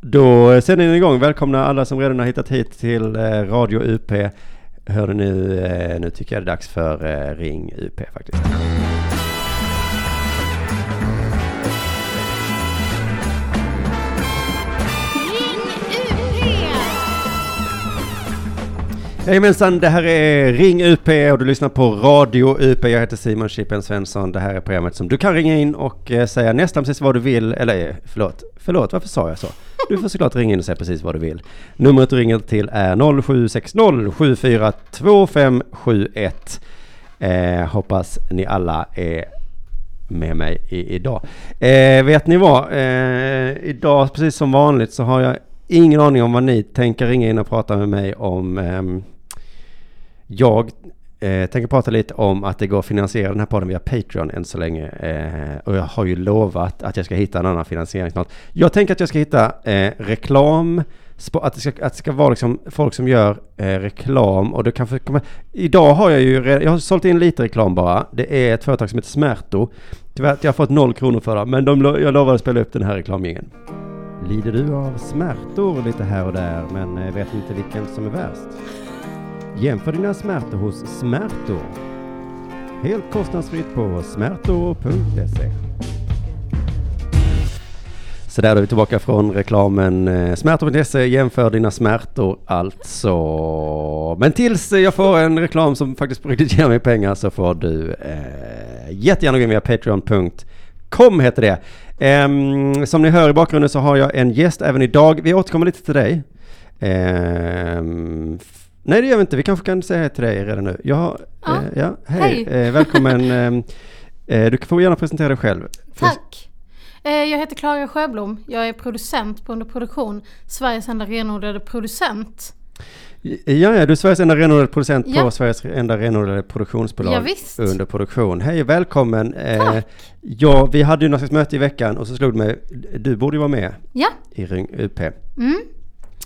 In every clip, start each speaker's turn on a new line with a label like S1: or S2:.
S1: Då sänder ni igång. Välkomna alla som redan har hittat hit till eh, Radio UP. Hör nu, eh, nu tycker jag det är dags för eh, Ring UP faktiskt. Jajamensan, det här är Ring UP och du lyssnar på Radio UP. Jag heter Simon Chippen Svensson. Det här är programmet som du kan ringa in och eh, säga nästan precis vad du vill. Eller eh, förlåt, förlåt, varför sa jag så? Du får såklart ringa in och säga precis vad du vill. Numret du ringer till är 0760-742571. Eh, hoppas ni alla är med mig i, idag. Eh, vet ni vad? Eh, idag, precis som vanligt, så har jag ingen aning om vad ni tänker ringa in och prata med mig om. ehm, jag eh, tänker prata lite om att det går att finansiera den här podden via Patreon än så länge. Eh, och jag har ju lovat att jag ska hitta en annan finansiering snart. Jag tänker att jag ska hitta eh, reklam, spo- att det, ska, att det ska vara liksom folk som gör eh, reklam och det kanske kommer... Idag har jag ju redan, jag har sålt in lite reklam bara. Det är ett företag som heter Smärto. Tyvärr, jag har fått noll kronor för det, men de, lo- jag lovade att spela upp den här reklamgingen. Lider du av smärtor lite här och där, men eh, vet inte vilken som är värst? Jämför dina smärtor hos Smärtor. Helt kostnadsfritt på smärtor.se. Så där är vi tillbaka från reklamen. Eh, Smärtor.se jämför dina smärtor alltså. Men tills eh, jag får en reklam som faktiskt på riktigt ger mig pengar så får du eh, jättegärna gå in via patreon.com heter det. Ehm, som ni hör i bakgrunden så har jag en gäst även idag. Vi återkommer lite till dig. Ehm, f- nej det gör vi inte. Vi kanske kan säga hej till dig redan nu. Jag, har-
S2: Ja.
S1: eh, ja, hej.
S2: Hej.
S1: Eh, välkommen. ehm, eh, du får gärna presentera dig själv.
S2: Tack! Eh, Jag heter Klara Sjöblom. Jag är producent på Under Produktion, Sveriges enda renodlade producent.
S1: Ja, ja, du är Sveriges enda renodlade producent på
S2: Ja.
S1: Sveriges enda renodlade produktionsbolag
S2: Ja, visst.
S1: under produktion. Hej och välkommen. Eh,
S2: Tack.
S1: ja, vi hade ju något slags möte i veckan och så slog det mig, du borde ju vara med
S2: Ja,
S1: i Ring UP.
S2: mm.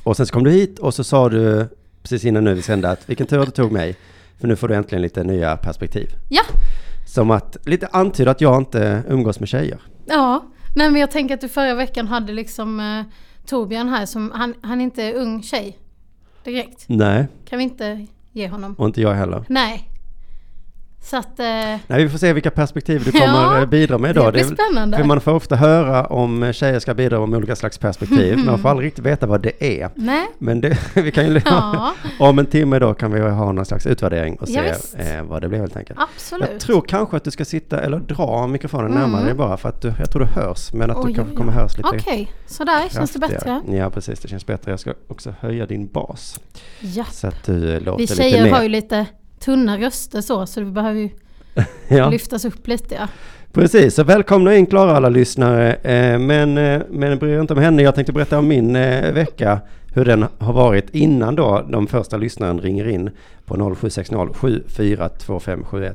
S1: Och sen så kom du hit och så sa du precis innan nu vi sände att vilken tur att du tog mig. För nu får du äntligen lite nya perspektiv.
S2: ja,
S1: Som att lite antyda att jag inte umgås med tjejer.
S2: ja. Nej men jag tänker att du förra veckan hade liksom eh, Torbjörn här som, han, han är inte ung tjej. Direkt.
S1: Nej,
S2: Kan vi inte ge honom?
S1: och inte jag heller.
S2: Nej. Så att, eh,
S1: Nej, vi får se vilka perspektiv du kommer
S2: Ja,
S1: eh, bidra med
S2: det
S1: idag.
S2: blir
S1: är väl-
S2: spännande.
S1: För man får ofta höra om tjejer ska bidra med olika slags perspektiv.
S2: Mm-hmm.
S1: men Man får aldrig riktigt veta vad det är.
S2: nej.
S1: Men det, vi kan ju...
S2: Ja,
S1: Om en timme då kan vi ha någon slags utvärdering och
S2: Ja,
S1: se
S2: visst.
S1: eh, vad det blir helt enkelt. Jag
S2: absolut. Mm.
S1: tror kanske att du ska sitta eller dra mikrofonen närmare dig bara för att du, jag tror du hörs men att du
S2: Oj,
S1: kanske
S2: oj,
S1: kommer
S2: oj.
S1: höras lite
S2: Okej, sådär känns det
S1: kraftigare.
S2: bättre.
S1: Ja precis, det känns bättre. Jag ska också höja din bas
S2: Ja.
S1: så att du låter
S2: Vi
S1: lite
S2: tjejer
S1: mer.
S2: har ju lite tunna röster så, så vi behöver ju
S1: ja.
S2: lyftas upp lite. Ja.
S1: Precis, så välkomna in Klara alla lyssnare. Eh, Men, eh, men bry er inte om henne. Jag tänkte berätta om min eh, vecka. Hur den har varit innan då de första lyssnaren ringer in på 0760-742571.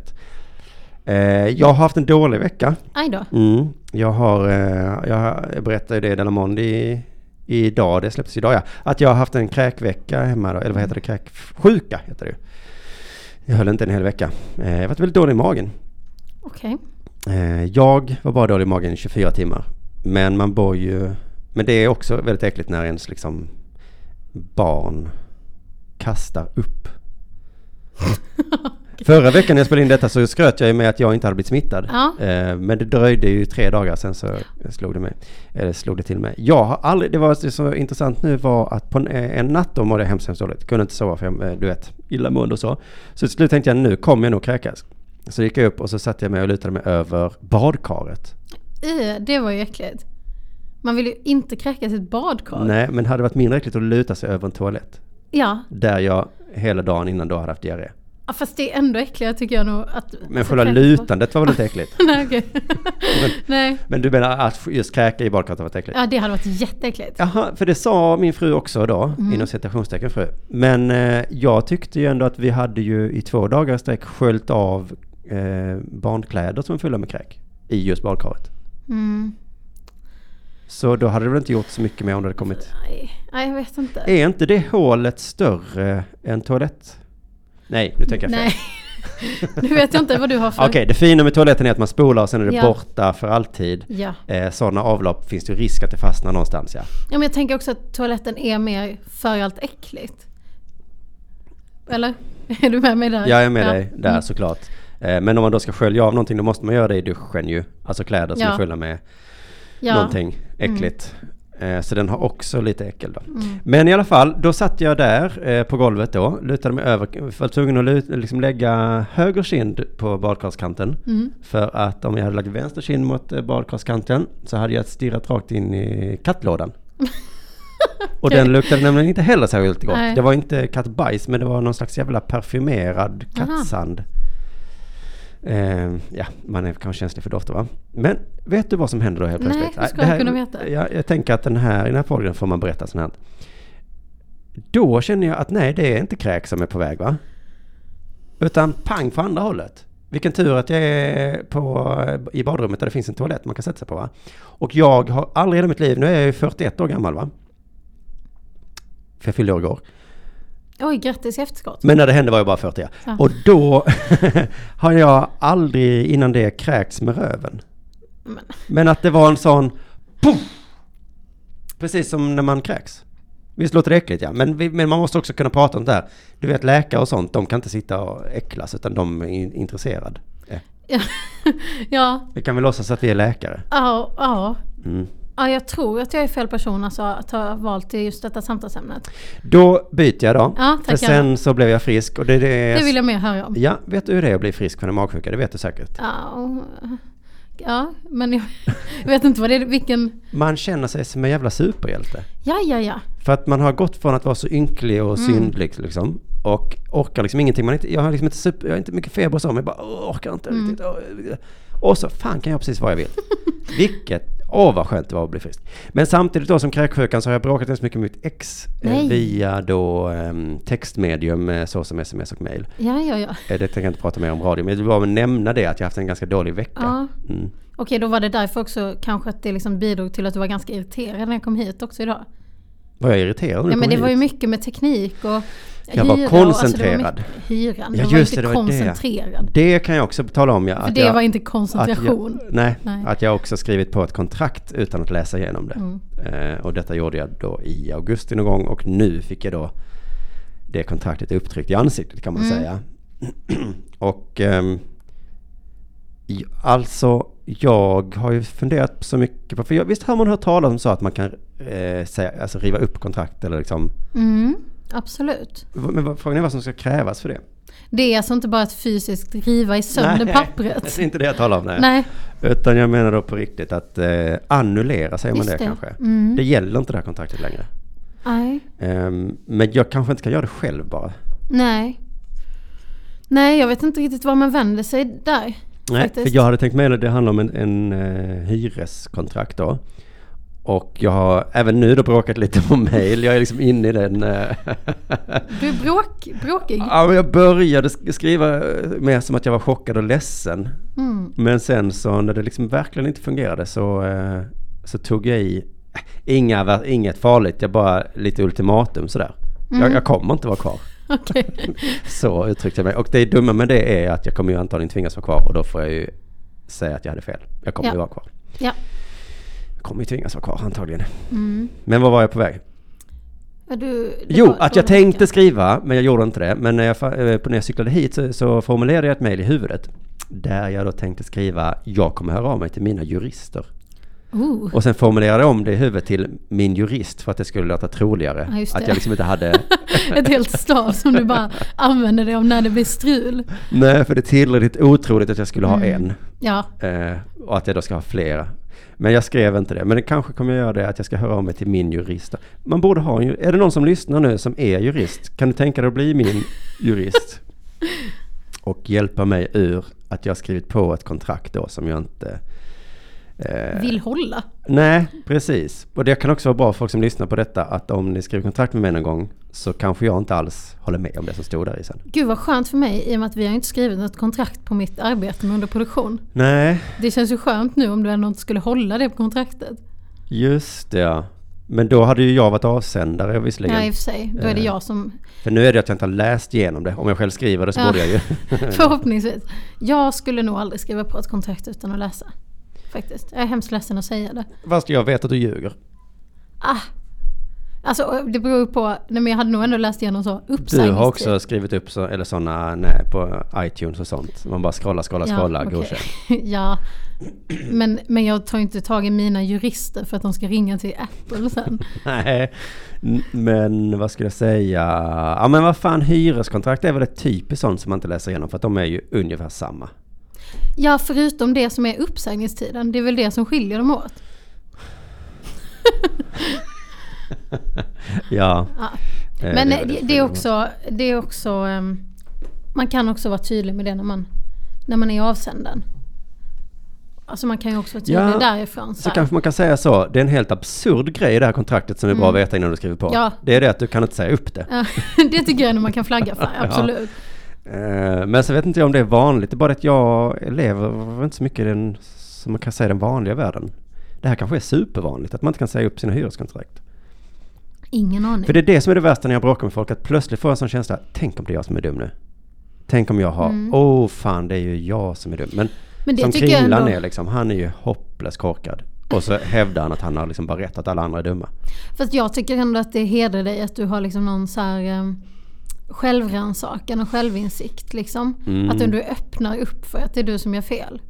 S1: Eh, Jag har haft en dålig vecka.
S2: Aj då.
S1: Mm. Jag har, eh, jag berättade det i Della Mondi idag, det släpptes idag ja. Att jag har haft en kräkvecka hemma då, eller vad heter det, kräksjuka heter det ju. Jag höll inte en hel vecka. Eh, Jag har varit väldigt dålig i magen.
S2: Okej.
S1: Eh, Jag var bara dålig i magen i 24 timmar. Men man bor ju... Men det är också väldigt äckligt när ens liksom barn kastar upp. Förra veckan när jag spelade in detta så skröt jag ju med att jag inte hade blivit smittad.
S2: Ja.
S1: Eh, Men det dröjde ju tre dagar sen så slog det, mig, eller slog det till mig. Jag har aldrig, det var det som var intressant nu var att på en, eh, en natt då mådde jag hemskt, hemskt dåligt. Kunde inte sova för jag, eh, du vet, illamående och så. Så till slut tänkte jag nu kommer jag nog kräkas. Så gick jag upp och så satte jag mig och lutade mig över badkaret.
S2: Ö, Det var ju äckligt. Man vill ju inte kräkas i ett badkar.
S1: Nej, men hade det varit mindre äckligt att luta sig över en toalett?
S2: Ja.
S1: Där jag hela dagen innan då hade haft diarré.
S2: ja, fast det är ändå äckligare tycker jag nog att...
S1: Men
S2: att
S1: själva
S2: kräkas-
S1: lutandet var väl inte äckligt?
S2: Nej, okej. Nej.
S1: Men du menar att just kräka i badkaret har varit äckligt?
S2: Ja, det hade varit jätteäckligt.
S1: Jaha, för det sa min fru också då, inom citationstecken fru. Men eh, jag tyckte ju ändå att vi hade ju i två dagar i sträck sköljt av eh, barnkläder som är fulla med kräk i just badkaret.
S2: Mm.
S1: Så då hade det väl inte gjort så mycket mer om det hade kommit.
S2: Nej. Nej, jag vet inte.
S1: Är inte det hålet större än toalett? Nej, nu tänker jag fel.
S2: Nej. Nu vet jag inte vad du har för...
S1: Okej, det fina med toaletten är att man spolar och sen är det
S2: Ja.
S1: borta för alltid.
S2: Ja.
S1: Eh, sådana avlopp finns det ju risk att det fastnar någonstans ja.
S2: ja, men jag tänker också att toaletten är mer för allt äckligt. Eller? Är du med mig där?
S1: Jag är med
S2: Ja. Mm.
S1: dig där såklart. Eh, men om man då ska skölja av någonting då måste man göra det i duschen ju. Alltså kläder som
S2: Ja.
S1: är fulla med
S2: Ja. Mm.
S1: någonting äckligt. Eh, Så den har också lite äckel då. Men i alla fall, då satt jag där eh, på golvet då, lutade mig över, var tvungen att lut, liksom lägga höger kind på badkarskanten.
S2: Mm.
S1: För att om jag hade lagt vänster kind mot eh, badkarskanten så hade jag stirrat rakt in i kattlådan. Och den luktade nämligen inte heller särskilt gott.
S2: Nej.
S1: Det var inte kattbajs men det var någon slags jävla parfymerad
S2: Aha.
S1: kattsand. Eh, ja, man är kanske känslig för dofter va? Men vet du vad som händer då helt
S2: Nej,
S1: plötsligt?
S2: hur ska
S1: det
S2: jag
S1: här-
S2: kunna veta?
S1: Jag, jag tänker att den här, i den här podden får man berätta sånt här. Då känner jag att nej, det är inte kräk som är på väg va? Utan pang på andra hållet. Vilken tur att jag är på, i badrummet där det finns en toalett man kan sätta sig på va? Och jag har aldrig i hela mitt liv, nu är jag ju 41 år gammal va? För jag fyllde år igår.
S2: Oj, grattis i efterskott.
S1: Men när det hände var jag bara 40 ja.
S2: Ja.
S1: Och då har jag aldrig innan det kräkts med röven.
S2: Men-
S1: Men att det var en sån puff, Precis som när man kräks. Visst låter det äckligt ja, men, vi, men man måste också kunna prata om det här. Du vet läkare och sånt, de kan inte sitta och äcklas utan de är in- intresserade. Eh,
S2: Ja, ja,
S1: Vi kan väl låtsas att vi är läkare.
S2: ja, ja.
S1: Mm.
S2: ja, jag tror att jag är fel person alltså, att ha valt till just detta samtalsämnet.
S1: Då byter jag då.
S2: Ja,
S1: för
S2: tack,
S1: sen så blev jag frisk och det är det...
S2: Det vill jag mer höra om.
S1: Ja, vet du hur det är att bli frisk från en magsjuka? Det vet du säkert.
S2: Ja, och- ja men jag jag vet inte vad det är, vilken...
S1: Man känner sig som en jävla superhjälte.
S2: Ja, ja, ja.
S1: För att man har gått från att vara så ynklig och
S2: Mm.
S1: syndlig liksom. Och orkar liksom ingenting. Man är inte, jag har liksom inte, super, jag har inte mycket feber och så, men jag bara "Åh, orkar inte
S2: Mm.
S1: riktigt. Åh." Och så fan kan jag precis vad jag vill. Vilket, åh vad skönt det var att bli frisk. Men samtidigt då som kräksjukan så har jag bråkat ganska mycket med mitt ex. eh,
S2: Nej.
S1: Via då ehm, textmedium eh, så som sms och mail.
S2: Ja, ja, ja.
S1: Eh, Det tänker jag inte prata mer om radio, men jag vill bara nämna det att jag har haft en ganska dålig vecka.
S2: Ja.
S1: Mm.
S2: Okej, då var det därför också kanske att det liksom bidrog till att du var ganska irriterad när jag kom hit också idag.
S1: Var jag irriterad när du
S2: Ja, men
S1: kom
S2: det
S1: hit?
S2: var ju mycket med teknik och
S1: Jag var
S2: hyra Och, alltså,
S1: koncentrerad.
S2: det var mycket, hyran,
S1: Ja,
S2: jag var
S1: just
S2: inte
S1: det, det var det.
S2: koncentrerad.
S1: Det kan jag också tala om. Ja,
S2: För
S1: att
S2: det
S1: jag,
S2: var inte
S1: Att
S2: koncentration.
S1: Jag, nej,
S2: Nej. Mm.
S1: att jag också skrivit på ett kontrakt utan att läsa igenom det. Eh, och detta gjorde jag då i augusti någon gång och nu fick jag då det kontraktet upptryckt i ansiktet kan man
S2: Mm.
S1: säga. och ehm, i- alltså jag har ju funderat så mycket på, för jag, visst har man hört talas om så att man kan eh, säga, alltså riva upp kontrakt eller liksom,
S2: Mm, absolut.
S1: v- men vad- frågan är vad som ska krävas för det.
S2: Det är alltså inte bara att fysiskt riva i sönder
S1: Nej,
S2: pappret.
S1: Det är inte det jag talar om. Nej.
S2: Nej,
S1: Utan jag menar då på riktigt att eh, annullera, säger man
S2: Just
S1: det,
S2: det.
S1: kanske?
S2: Mm.
S1: Det gäller inte det här kontraktet längre.
S2: nej,
S1: Ehm, men jag kanske inte kan göra det själv bara.
S2: nej. Nej, jag vet inte riktigt var man vänder sig där.
S1: Nej,
S2: Faktiskt.
S1: för jag hade tänkt mig att det handlar om en, en eh, hyreskontrakt då. Och jag har även nu då bråkat lite på mail. Jag är liksom inne i den... eh,
S2: Du är bråk, bråkig.
S1: ja, men jag började sk- skriva eh, mer som att jag var chockad och ledsen.
S2: Mm.
S1: Men sen så när det liksom verkligen inte fungerade så, eh, så tog jag i, eh, inga, va- inget farligt, jag bara lite ultimatum sådär.
S2: Mm.
S1: Jag, jag kommer inte vara kvar.
S2: Okej.
S1: Så uttryckte jag mig. Och det dumma med det är att jag kommer ju antagligen tvingas vara kvar och då får jag ju säga att jag hade fel. Jag kommer
S2: Ja.
S1: ju vara kvar.
S2: Ja.
S1: Jag kommer ju tvingas vara kvar antagligen.
S2: Mm.
S1: Men vad var jag på väg?
S2: Ja, Du, det
S1: Jo,
S2: var-
S1: att
S2: var
S1: jag
S2: det
S1: tänkte
S2: mycket.
S1: skriva, men jag gjorde inte det. Men när jag, fa- eh, när jag cyklade hit så, så formulerade jag ett mejl i huvudet. Där jag då tänkte skriva, jag kommer höra av mig till mina jurister.
S2: Oh.
S1: Och sen formulerade jag om det i huvudet till min jurist för att det skulle låta troligare.
S2: Ja, just
S1: att
S2: det.
S1: jag liksom inte hade...
S2: Ett helt stav som du bara använder dig av när det blir strul.
S1: Nej, för det är tillräckligt otroligt att jag skulle
S2: Mm.
S1: ha en.
S2: Ja,
S1: Eh, och att jag då ska ha flera. Men jag skrev inte det. Men det kanske kommer jag göra det, att jag ska höra av mig till min jurist. Man borde ha en ju- Är det någon som lyssnar nu som är jurist? Kan du tänka dig att bli min jurist? Och hjälpa mig ur att jag har skrivit på ett kontrakt då som jag inte... eh,
S2: vill hålla.
S1: Nej, precis. Och det kan också vara bra för folk som lyssnar på detta att om ni skriver kontrakt med mig någon gång så kanske jag inte alls håller med om det som stod där i sen.
S2: Gud vad skönt för mig i och med att vi har inte skrivit något kontrakt på mitt arbete med underproduktion.
S1: Nej,
S2: Det känns ju skönt nu om du ändå inte skulle hålla det på kontraktet.
S1: just det ja. Men då hade ju jag varit avsändare visserligen.
S2: Ja, i och för sig. Då är
S1: Eh.
S2: det jag som...
S1: För nu är det att jag inte har läst igenom det. Om jag själv skriver det så
S2: Ja.
S1: borde jag ju.
S2: Förhoppningsvis. Jag skulle nog aldrig skriva på ett kontrakt utan att läsa. Faktiskt. Jag är hemskt ledsen att säga det.
S1: Fast jag vet att du ljuger.
S2: Ah. Alltså det beror ju på, nej men jag hade nog ändå läst igenom så
S1: Du
S2: uppsägningstid.
S1: har också skrivit upp så, eller sådana nej, på iTunes och sånt. Man bara scrollar, scrollar, scrollar.
S2: okej.
S1: godkänd.
S2: ja. Men, men jag tar ju inte tag i mina jurister för att de ska ringa till Apple sen.
S1: Nej, n- men vad skulle jag säga? Ja men vad fan, hyreskontrakt är väl ett typiskt sånt som man inte läser igenom för att de är ju ungefär samma.
S2: Ja, förutom det som är uppsägningstiden. Det är väl det som skiljer dem åt.
S1: Ja.
S2: Ja.
S1: eh, väl
S2: Men det, det, är
S1: skillnad.
S2: också, det är också... ehm, Man kan också vara tydlig med det när man, när man är avsändaren. Alltså man kan ju också vara tydlig
S1: Ja,
S2: därifrån. Så
S1: Så
S2: här.
S1: kanske man kan säga så, det är en helt absurd grej i det här kontraktet som är bra att
S2: Mm.
S1: veta innan du skriver på.
S2: Ja.
S1: Det är det att du kan inte säga upp det.
S2: Ja, det tycker jag när man kan flagga för, absolut.
S1: Eh, Men så vet inte jag om det är vanligt, det är bara att jag lever inte så mycket i den, som man kan säga, den vanliga världen. Det här kanske är supervanligt, att man inte kan säga upp sina hyreskontrakt.
S2: Ingen aning.
S1: För det är det som är det värsta när jag bråkar med folk, att plötsligt får jag en sån känsla, tänk om det är jag som är dum nu. Tänk om jag har,
S2: Mm.
S1: åh oh, fan det är ju jag som är dum. Men
S2: Men det
S1: som
S2: tycker jag
S1: Kringlan
S2: ändå.
S1: är liksom, han är ju hopplöst korkad. Och så hävdar han att han har liksom bara rätt, att alla andra är dumma.
S2: Fast jag tycker ändå att det hedrar dig att du har liksom någon så här ehm, självrannsakan och självinsikt. Liksom.
S1: Mm.
S2: Att du öppnar upp för att det är du som gör fel.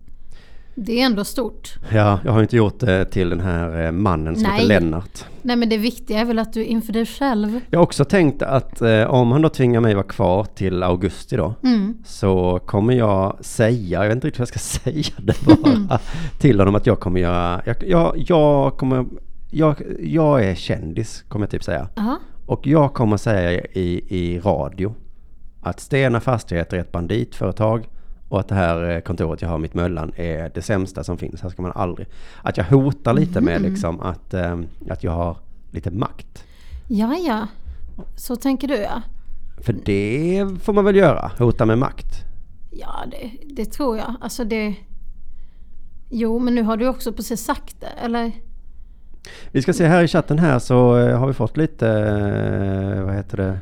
S2: Det är ändå stort.
S1: Ja, jag har ju inte gjort det till den här eh, mannen som
S2: Nej.
S1: heter Lennart.
S2: Nej men det viktiga är väl att du inför dig själv.
S1: Jag har också tänkt att eh, om han då tvingar mig vara kvar till augusti då.
S2: Mm.
S1: Så kommer jag säga, jag vet inte riktigt hur jag ska säga det bara, till honom att jag kommer göra, jag, jag, jag kommer, jag, jag är kändis kommer jag typ säga.
S2: Ja.
S1: Och jag kommer säga i, i radio att Stena Fastigheter är ett banditföretag och att det här eh, kontoret jag har mitt Möllan är det sämsta som finns. Här ska man aldrig... Att jag hotar lite med liksom att, eh, att jag har lite makt.
S2: ja, ja. Så tänker du ja.
S1: För det får man väl göra, hota med makt.
S2: Ja, det, det tror jag. Alltså det... Jo, men nu har du också precis sagt det, eller?
S1: Vi ska se här i chatten här så eh, har vi fått lite, eh, vad heter det?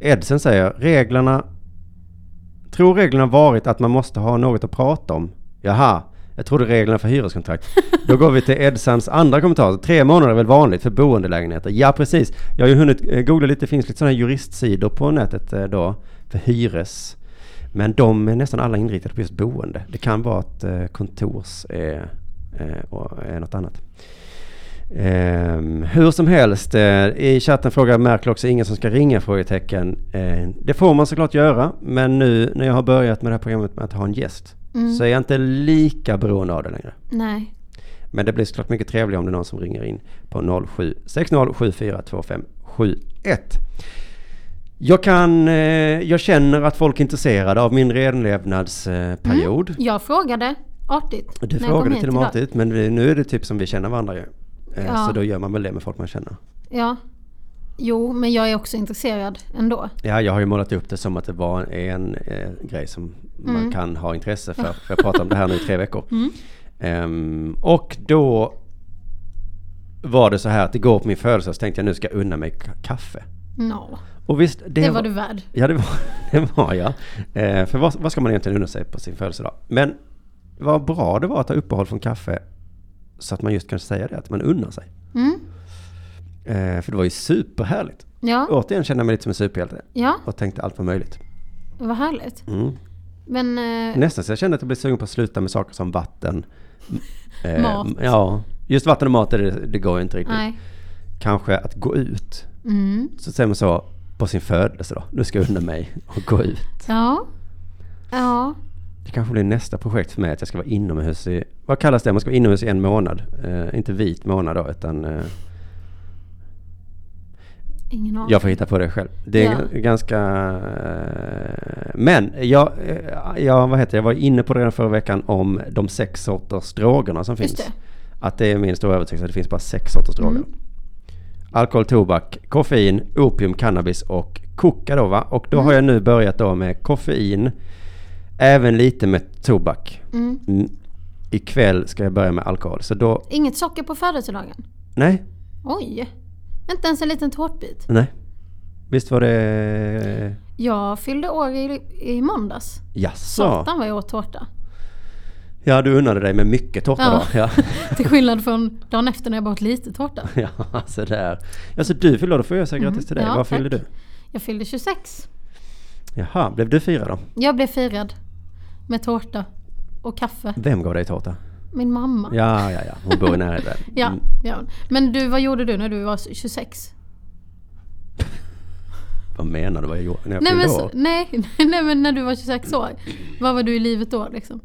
S1: Edsen säger, reglerna, tror reglerna varit att man måste ha något att prata om? Jaha, jag trodde reglerna för hyreskontrakt. Då går vi till Edsams andra kommentar. Tre månader är väl vanligt för boendelägenheter? Ja, precis. Jag har ju hunnit eh, googla lite, det finns lite sådana här juristsidor på nätet eh, då, för hyres. Men de är nästan alla inriktade på just boende. Det kan vara att eh, kontors är, eh, och är något annat. Ehm, hur som helst, eh, i chatten frågar Merkel också ingen som ska ringa? frågetecken. Eh, det får man såklart göra, men nu när jag har börjat med det här programmet med att ha en gäst
S2: Mm.
S1: så är jag inte lika beroende av det längre.
S2: Nej.
S1: Men det blir såklart mycket trevligare om det är någon som ringer in på 07 60 74 25 71. Jag kan, eh, jag känner att folk är intresserade av min renlevnadsperiod.
S2: Mm. Jag frågade artigt.
S1: Du
S2: när jag kom
S1: frågade
S2: hit
S1: till och med
S2: idag.
S1: artigt, men vi, nu är det typ som vi känner varandra ju. Eh,
S2: Ja.
S1: Så då gör man väl det med folk man känner.
S2: Ja. Jo, men jag är också intresserad ändå.
S1: Ja, jag har ju målat upp det som att det var en eh, grej som man
S2: Mm.
S1: kan ha intresse för. För jag pratar om det här nu i tre veckor. Ehm, och då var det så här att igår på min födelsedag så tänkte jag nu ska jag unna mig ka- kaffe.
S2: No.
S1: Och visst, det,
S2: Det, var du värd.
S1: Ja, det var, det var jag. Eh, för vad, vad ska man egentligen unna sig på sin födelsedag? Men vad bra det var att ha uppehåll från kaffe. Så att man just kan säga det, att man unnar sig.
S2: Mm.
S1: Eh, för det var ju superhärligt.
S2: Ja,
S1: Återigen kände jag mig lite som en superhjälte.
S2: ja,
S1: Och tänkte allt var möjligt.
S2: vad härligt.
S1: Mm.
S2: Men eh,
S1: Nästan så jag kände att jag blev sugen på att sluta med saker som vatten. Eh,
S2: Mat.
S1: Ja, just vatten och mat är det, det går ju inte riktigt.
S2: nej.
S1: Kanske att gå ut.
S2: Mm.
S1: Så säger man så på sin födelse då. Nu ska jag unna mig och gå ut.
S2: Ja. Ja.
S1: Det kanske blir nästa projekt för mig att jag ska vara inomhus i, vad kallas det? Man ska vara inomhus i en månad. Eh, inte vit månad då utan eh,
S2: Ingen aning.
S1: jag får hitta på det själv. Det är
S2: Ja.
S1: g- ganska... Eh, men jag, eh, jag, vad heter det? jag var inne på det redan förra veckan om de sex sorters drogerna som
S2: Just
S1: finns.
S2: det.
S1: Att det är min stora övertygelse att det finns bara sex sorters droger.
S2: Mm.
S1: Alkohol, tobak, koffein, opium, cannabis och koka då va? Och då har jag nu börjat då med koffein, även lite med tobak.
S2: Mm.
S1: Mm. Ikväll ska jag börja med alkohol. Så då,
S2: Inget socker på födelsedagen?
S1: nej,
S2: Oj. Inte ens en liten tårtbit.
S1: Nej. Visst var det...
S2: Jag fyllde år i, i måndags.
S1: Jaså?
S2: Satan vad jag åt tårta.
S1: Ja, du unnade dig med mycket tårta
S2: Ja.
S1: då. Ja.
S2: Till skillnad från dagen efter när jag bara åt lite tårta.
S1: ja, sådär. Ja, så du fyllde år, då får jag säga grattis till dig.
S2: Mm. ja,
S1: Vad fyllde
S2: tack.
S1: du?
S2: Jag fyllde 26.
S1: Jaha, blev du fyra då?
S2: Jag blev firad. Med tårta. Och kaffe.
S1: Vem gav dig tårta?
S2: Min mamma.
S1: Ja, ja, ja. Hon bor i närheten.
S2: Ja,
S1: Mm.
S2: ja. Men du, vad gjorde du när du var 26?
S1: Vad menar du? Vad jag gjorde när jag
S2: Nej men,
S1: fyllde
S2: så,
S1: år?
S2: nej, nej men när du var 26 år. Vad var du i livet då liksom?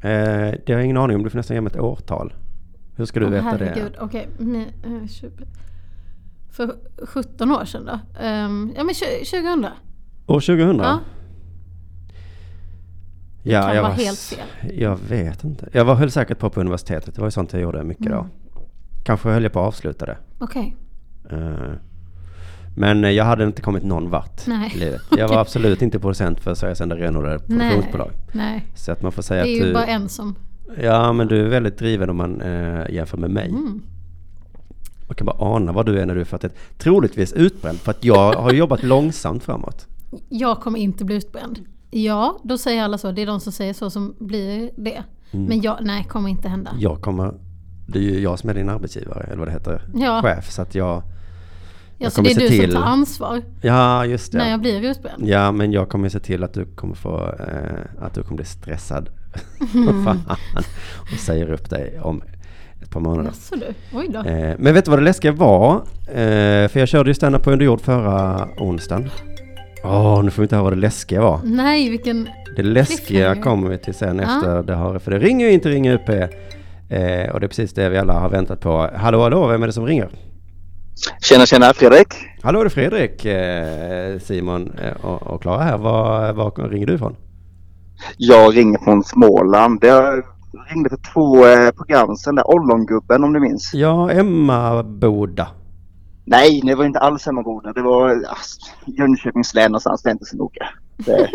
S1: Eh, det har jag ingen aning om. Du får nästan ge mig ett årtal. Hur ska du
S2: Åh,
S1: veta
S2: herregud.
S1: det?
S2: Okej, nej, eh, tjugo- för 17 år sedan då? Ehm, ja men tju- 2000?
S1: År 2000?
S2: Ja.
S1: Ja,
S2: kan
S1: jag
S2: vara
S1: var-
S2: helt fel.
S1: Jag vet inte. Jag var, höll säkert på på universitetet. Det var ju sånt jag gjorde mycket
S2: Mm.
S1: då. Kanske höll jag på att avsluta det.
S2: Okej.
S1: Eh, Men jag hade inte kommit någon vart
S2: Nej.
S1: i livet. Jag var absolut inte producent för Sveriges enda renodlade
S2: Mm. Nej.
S1: produktionsbolag.
S2: Nej.
S1: Så att man får
S2: Det
S1: säga
S2: är
S1: att
S2: ju
S1: du...
S2: bara en som...
S1: Ja, men du är väldigt driven om man eh, jämför med mig.
S2: Mm.
S1: Man kan bara ana vad du är när du är 41. Troligtvis utbränd, för att jag har jobbat långsamt framåt.
S2: Jag kommer inte bli utbränd. Ja, då säger alla så. Det är de som säger så som blir det.
S1: Mm.
S2: Men jag, nej, kommer inte hända.
S1: Jag kommer... Det är ju jag som är din arbetsgivare, eller vad det heter.
S2: Ja,
S1: Chef, så att jag...
S2: ja så
S1: kommer
S2: det är
S1: se
S2: du
S1: till-
S2: som tar ansvar
S1: Ja, just det.
S2: när jag blir utbränd.
S1: Ja, men jag kommer se till att du kommer få... Eh, att du kommer bli stressad. Fan. Och säger upp dig om ett par månader.
S2: Jaså du? Oj då.
S1: Eh, men vet du vad det läskiga var? Eh, för jag körde ju stand-up på underjord förra onsdagen. Åh, nu får vi inte höra vad det läskiga var.
S2: Nej, vilken...
S1: Det läskiga
S2: Cliffhanger.
S1: kommer vi till sen
S2: Ja.
S1: efter det här. För det ringer ju inte Ring UP. Eh, och det är precis det vi alla har väntat på. Hallå, hallå, vem är det som ringer?
S3: Tjena, tjena Fredrik.
S1: Hallå, det är Fredrik, eh, Simon eh, och och Klara här. Var, var ringer du ifrån?
S3: Jag ringer från Småland. Jag ringde för två eh, program sedan där. Ollongubben om du minns.
S1: Ja, Emma Boda.
S3: Nej, det var inte alls samma goda. Det var ah, Jönköpings län någonstans. Det är inte så noga. Det,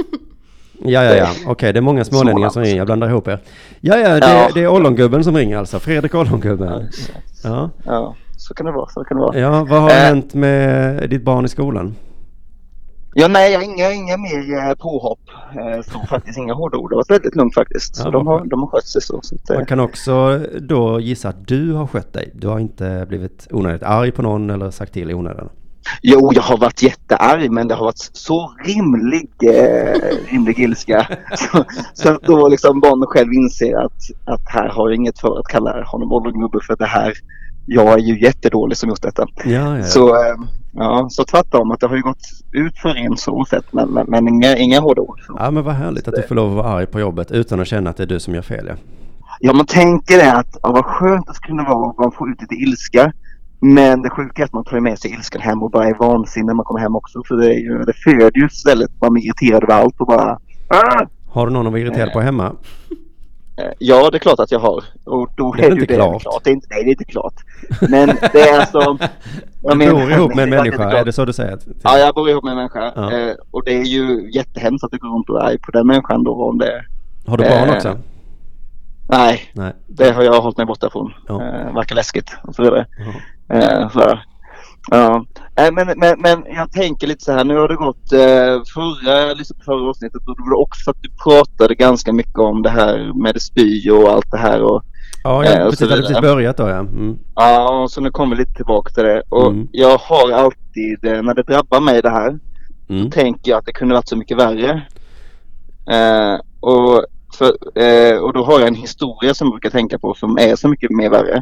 S1: Ja, ja, ja. Okej, det är många smålänningar som
S3: Småland.
S1: ringer. Jag blandar ihop er. Ja, ja, det,
S3: Ja.
S1: det är Ollongubben som ringer alltså. Fredrik Ollongubben. Ja.
S3: ja, så kan det vara. Så kan det vara.
S1: Ja, vad har
S3: Eh.
S1: hänt med ditt barn i skolan?
S3: Ja, nej, jag har inga, inga mer eh, påhopp. Eh, så faktiskt inga hårda ord. Det var väldigt lugnt faktiskt.
S1: Ja,
S3: Så de,
S1: vad
S3: har,
S1: skönt.
S3: de har skött sig så. så att, eh,
S1: Man kan också då gissa att du har skött dig. Du har inte blivit onödigt arg på någon eller sagt till i onödan.
S3: Jo, jag har varit jättearg men det har varit så rimlig, eh, rimlig ilska. Så, så att då liksom barnen själv inser att, att här har jag inget för att kalla honom ollongubbe för det här. Jag är ju jättedålig som gjort detta.
S1: Ja, ja, ja.
S3: Så, eh, ja, så tvärtom, att det har ju gått ut för en så sett men, men, men inga, inga hårda ord. Så.
S1: ja men vad härligt att du får lov att vara arg på jobbet utan att känna att det är du som gör fel. Ja.
S3: Ja, man tänker det att ja, vad skönt det skulle vara om man får ut lite ilska. Men det sjuka är att man tar med sig ilskan hem och bara är vansinnig när man kommer hem också. För det, är ju, det föder ju istället man blir irriterad över allt och bara "Ah!"
S1: Har du någon att vara irriterad på hemma?
S3: Eh, Ja, det är klart att jag har. Och då
S1: Det är väl
S3: ju
S1: inte klart.
S3: Det är inte, nej, det är inte klart. Men det är alltså...
S1: Du
S3: jag
S1: bor ihop med en
S3: det är inte
S1: människa, är
S3: klart.
S1: det så du säger?
S3: Ja, jag bor ihop med en människa.
S1: Ja.
S3: Eh, Och det är ju jättehemskt att du går runt och är arg på den människan då. Om det...
S1: Har du barn
S3: eh,
S1: också?
S3: Nej,
S1: Nej.
S3: det har jag hållit mig borta från.
S1: Ja.
S3: Eh, verkar läskigt och så vidare.
S1: Ja.
S3: Eh, Så, ja. Eh, Men, men, men jag tänker lite så här, nu har det gått eh, förra, liksom förra avsnittet och då var det också att du pratade ganska mycket om det här med det spy och allt det här. Och,
S1: Ja,
S3: Eh,
S1: jag
S3: och
S1: precis,
S3: så
S1: hade precis
S3: vidare.
S1: börjat då ja. Mm.
S3: ja, så nu kommer vi lite tillbaka till det. Och
S1: Mm.
S3: Jag har alltid, eh, när det drabbar mig det här,
S1: Mm.
S3: tänker jag att det kunde varit så mycket värre. Eh, och, för, eh, och då har jag en historia som jag brukar tänka på som är så mycket mer värre.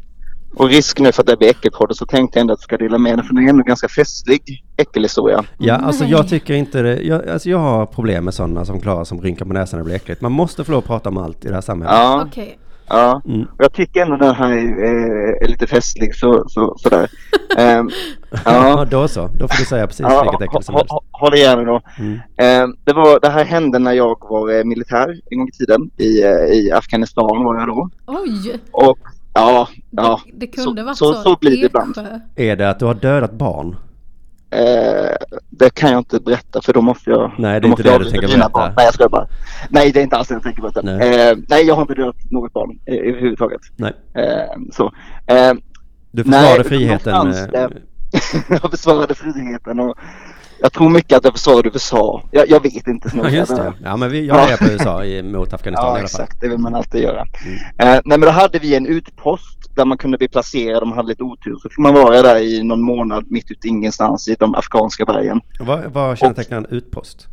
S3: Och risk nu för att det blir äckelpodden så tänkte jag ändå att jag ska dela med den för den är ändå ganska festlig äckelhistoria.
S1: Ja, alltså jag
S2: Nej.
S1: tycker inte det. Jag, alltså jag har problem med sådana som Klara som rynkar på näsan och blir äckligt. Man måste få lov att prata om allt i det här samhället.
S3: Ja,
S2: Okej.
S3: ja.
S1: Mm.
S3: Och jag tycker ändå den här eh, är lite festlig så, så, sådär. Ehm,
S1: Ja,
S3: ja.
S1: då så. Då får du säga precis
S3: Ja,
S1: vilket äckel som
S3: ha-
S1: helst.
S3: ha- Håll i er nu då.
S1: Mm.
S3: Eh, det, var, det här hände när jag var eh, militär en gång i tiden. I, eh, i Afghanistan var jag då.
S2: Oj!
S3: Och ja, ja.
S2: Det, det kunde
S3: så-
S2: varit så.
S3: så- så blir det ibland.
S2: Eksjö.
S1: Är det att du har dödat barn?
S3: Eh, det kan jag inte berätta för då måste jag...
S1: Nej, det
S3: då
S1: är
S3: måste
S1: inte det
S3: jag
S1: du
S3: avbryta
S1: tänker
S3: mina
S1: berätta.
S3: barn. Nej, jag skojar bara. Nej, det är inte alls det jag tänker berätta.
S1: Nej.
S3: Nej, eh, nej jag har inte dödat något barn eh, överhuvudtaget.
S1: Nej.
S3: Eh, så. Eh,
S1: Du
S3: Nej,
S1: försvarade
S3: utan
S1: friheten.
S3: någonstans
S1: eh,
S3: där- jag försvarade friheten och jag tror mycket att jag försvarade USA. Jag, jag vet inte.
S1: Ja, just det. Ja, men vi, jag är på USA i- mot Afghanistan i
S3: Ja,
S1: alla fall. Mm.
S3: exakt. Det vill man alltid göra. Eh, nej, men då hade vi en utpost där man kunde bli placerad om man hade lite otur. Så fick man vara där i någon månad mitt ute i ingenstans i de afghanska bergen.
S1: Vad, vad kännetecknar en utpost?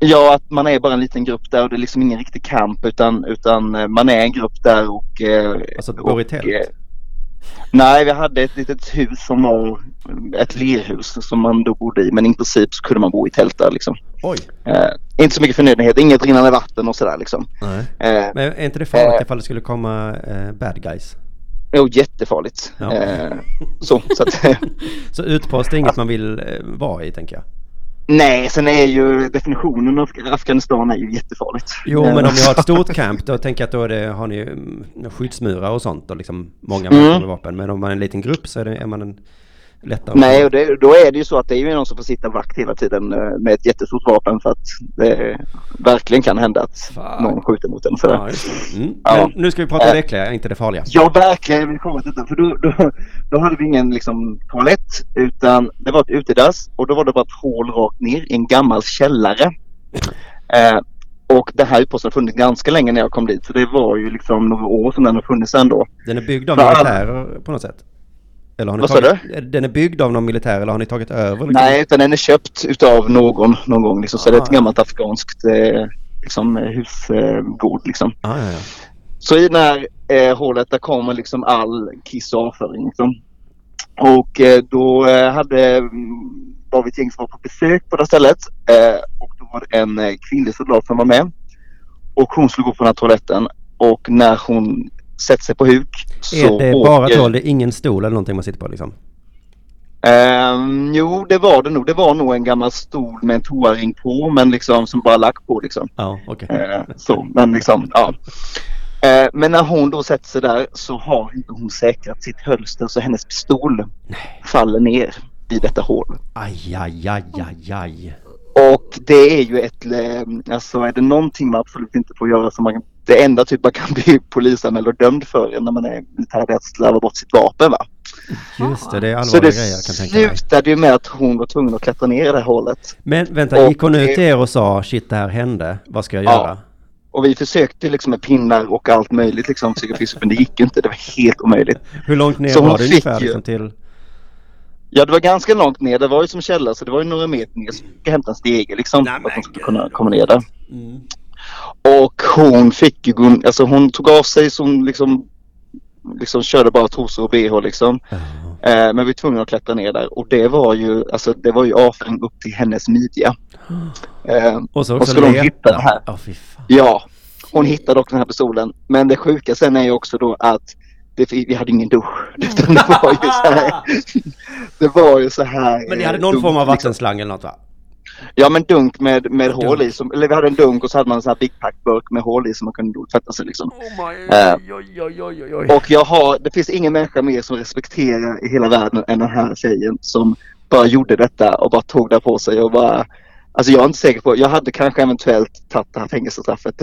S3: Ja, att man är bara en liten grupp där och det är liksom ingen riktig kamp utan, utan eh, man är en grupp där och... eh,
S1: Alltså att bor i
S3: och,
S1: tält?
S3: eh, Nej, vi hade ett litet hus som var eh, ett lerhus som man då bodde i men i princip så kunde man bo i tält där liksom.
S1: Oj!
S3: Eh, inte så mycket förnödenheter, inget rinnande vatten och sådär liksom.
S1: Nej.
S3: Eh,
S1: Men är inte det farligt
S3: Eh.
S1: ifall det skulle komma eh, bad guys?
S3: jo, jättefarligt.
S1: Ja.
S3: Eh, så, så att,
S1: Så utpost är inget man vill eh, vara i, tänker jag.
S3: Nej, sen är ju definitionen av Afghanistan är ju jättefarligt.
S1: Jo,
S3: Eh,
S1: men om ni har ett stort camp, då tänker jag att då är det, har ni mm, skyddsmurar och sånt och liksom många
S3: Mm.
S1: människor med vapen. Men om man är en liten grupp så är, det, är man en lättare...
S3: Nej, och det, då är det ju så att det är ju någon som får sitta vakt hela tiden eh, med ett jättestort vapen för att det verkligen kan hända att
S1: Fan.
S3: någon skjuter mot en. och
S1: Ja,
S3: Sådär.
S1: just det. mm.
S3: Ja.
S1: Men nu ska vi prata om det
S3: Eh.
S1: äckliga, inte det farliga.
S3: Ja, verkligen. Jag vill komma till det. För då, då, då hade vi ingen liksom, toalett utan det var ett utedass och då var det bara ett hål rakt ner i en gammal källare. Eh, och det här utposten har funnits ganska länge när jag kom dit så det var ju liksom några år som den har funnits ändå.
S1: Den är byggd av
S3: Fan.
S1: militärer på något sätt? Eller har ni
S3: Vad sa
S1: tagit, du? Den är byggd av någon militär eller har ni tagit över? liksom?
S3: Nej, utan den är köpt utav någon någon gång. Liksom. Så det är ett
S1: Ah.
S3: gammalt afghanskt eh, liksom, husgård. Liksom.
S1: Ah, ja, ja.
S3: Så i det här eh, hålet där kommer liksom all kiss och avföring. Liksom. Och eh, då eh, hade, mm, var vi ett gäng som var på besök på det här stället. Eh, och då var det en eh, kvinnlig soldat som var med. Och hon skulle gå på den här toaletten. Och när hon sätter sig på huk
S1: Är
S3: så
S1: det bara tolv, det är ingen stol eller någonting man sitter på liksom?
S3: Ehm, jo, det var det nog. Det var nog en gammal stol med en toaring på, men liksom som bara lack på liksom.
S1: Ja, okej.
S3: Ehm, så, men liksom, ja. Ehm, men när hon då sätter sig där så har inte hon säkrat sitt hölster så hennes pistol faller ner i detta hål.
S1: Aj, aj, aj, aj, aj.
S3: Och det är ju ett, eh, alltså är det någonting man absolut inte får göra som man, det enda typ man kan bli polisanmäld och dömd för är när man är militär det är att slarva bort sitt vapen va.
S1: Just det, det är
S3: Så
S1: allvarliga
S3: det
S1: grejer jag kan tänka mig.
S3: slutade ju med att hon var tvungen att klättra ner i det här hålet.
S1: Men vänta, gick hon
S3: Och-
S1: ut till er och sa shit det här hände, vad ska jag
S3: Ja.
S1: göra?
S3: Och vi försökte liksom med pinnar och allt möjligt liksom försöka fiska upp, men det gick ju inte. Det var helt omöjligt.
S1: Hur långt ner
S3: Så hon
S1: var det
S3: fick
S1: ungefär
S3: ju-
S1: liksom till?
S3: Ja, det var ganska långt ner. Det var ju som källa, så det var ju några meter ner. Så vi fick hämta en stege liksom för att hon skulle kunna komma ner där. Och hon fick ju, gå- alltså hon tog av sig så hon liksom, liksom körde bara trosor och bh liksom.
S1: Ja.
S3: Eh, men vi var tvungna att klättra ner där och det var ju, alltså det var ju avföring upp till hennes midja. Eh,
S1: Och så
S3: Och
S1: också
S3: skulle hon
S1: leta.
S3: hitta det här?
S1: Ja, fy fan.
S3: Ja, hon hittade också den här pistolen. Men det sjuka sen är ju också då att det, vi hade ingen dusch. Utan det var ju så här. Det var ju så här.
S1: Men ni
S3: eh,
S1: hade någon
S3: dunk,
S1: form av
S3: liksom.
S1: vattenslang eller något va?
S3: Ja men dunk med, med
S1: Dunk.
S3: hål i. Som, eller vi hade en dunk och så hade man en sån här Big Pack-burk med hål i som man kunde då tvätta sig liksom. Eh, och jag har, det finns ingen människa mer som respekterar i hela världen än den här tjejen som bara gjorde detta och bara tog det på sig och bara Alltså jag är inte säker på, jag hade kanske eventuellt tagit det här fängelsestraffet.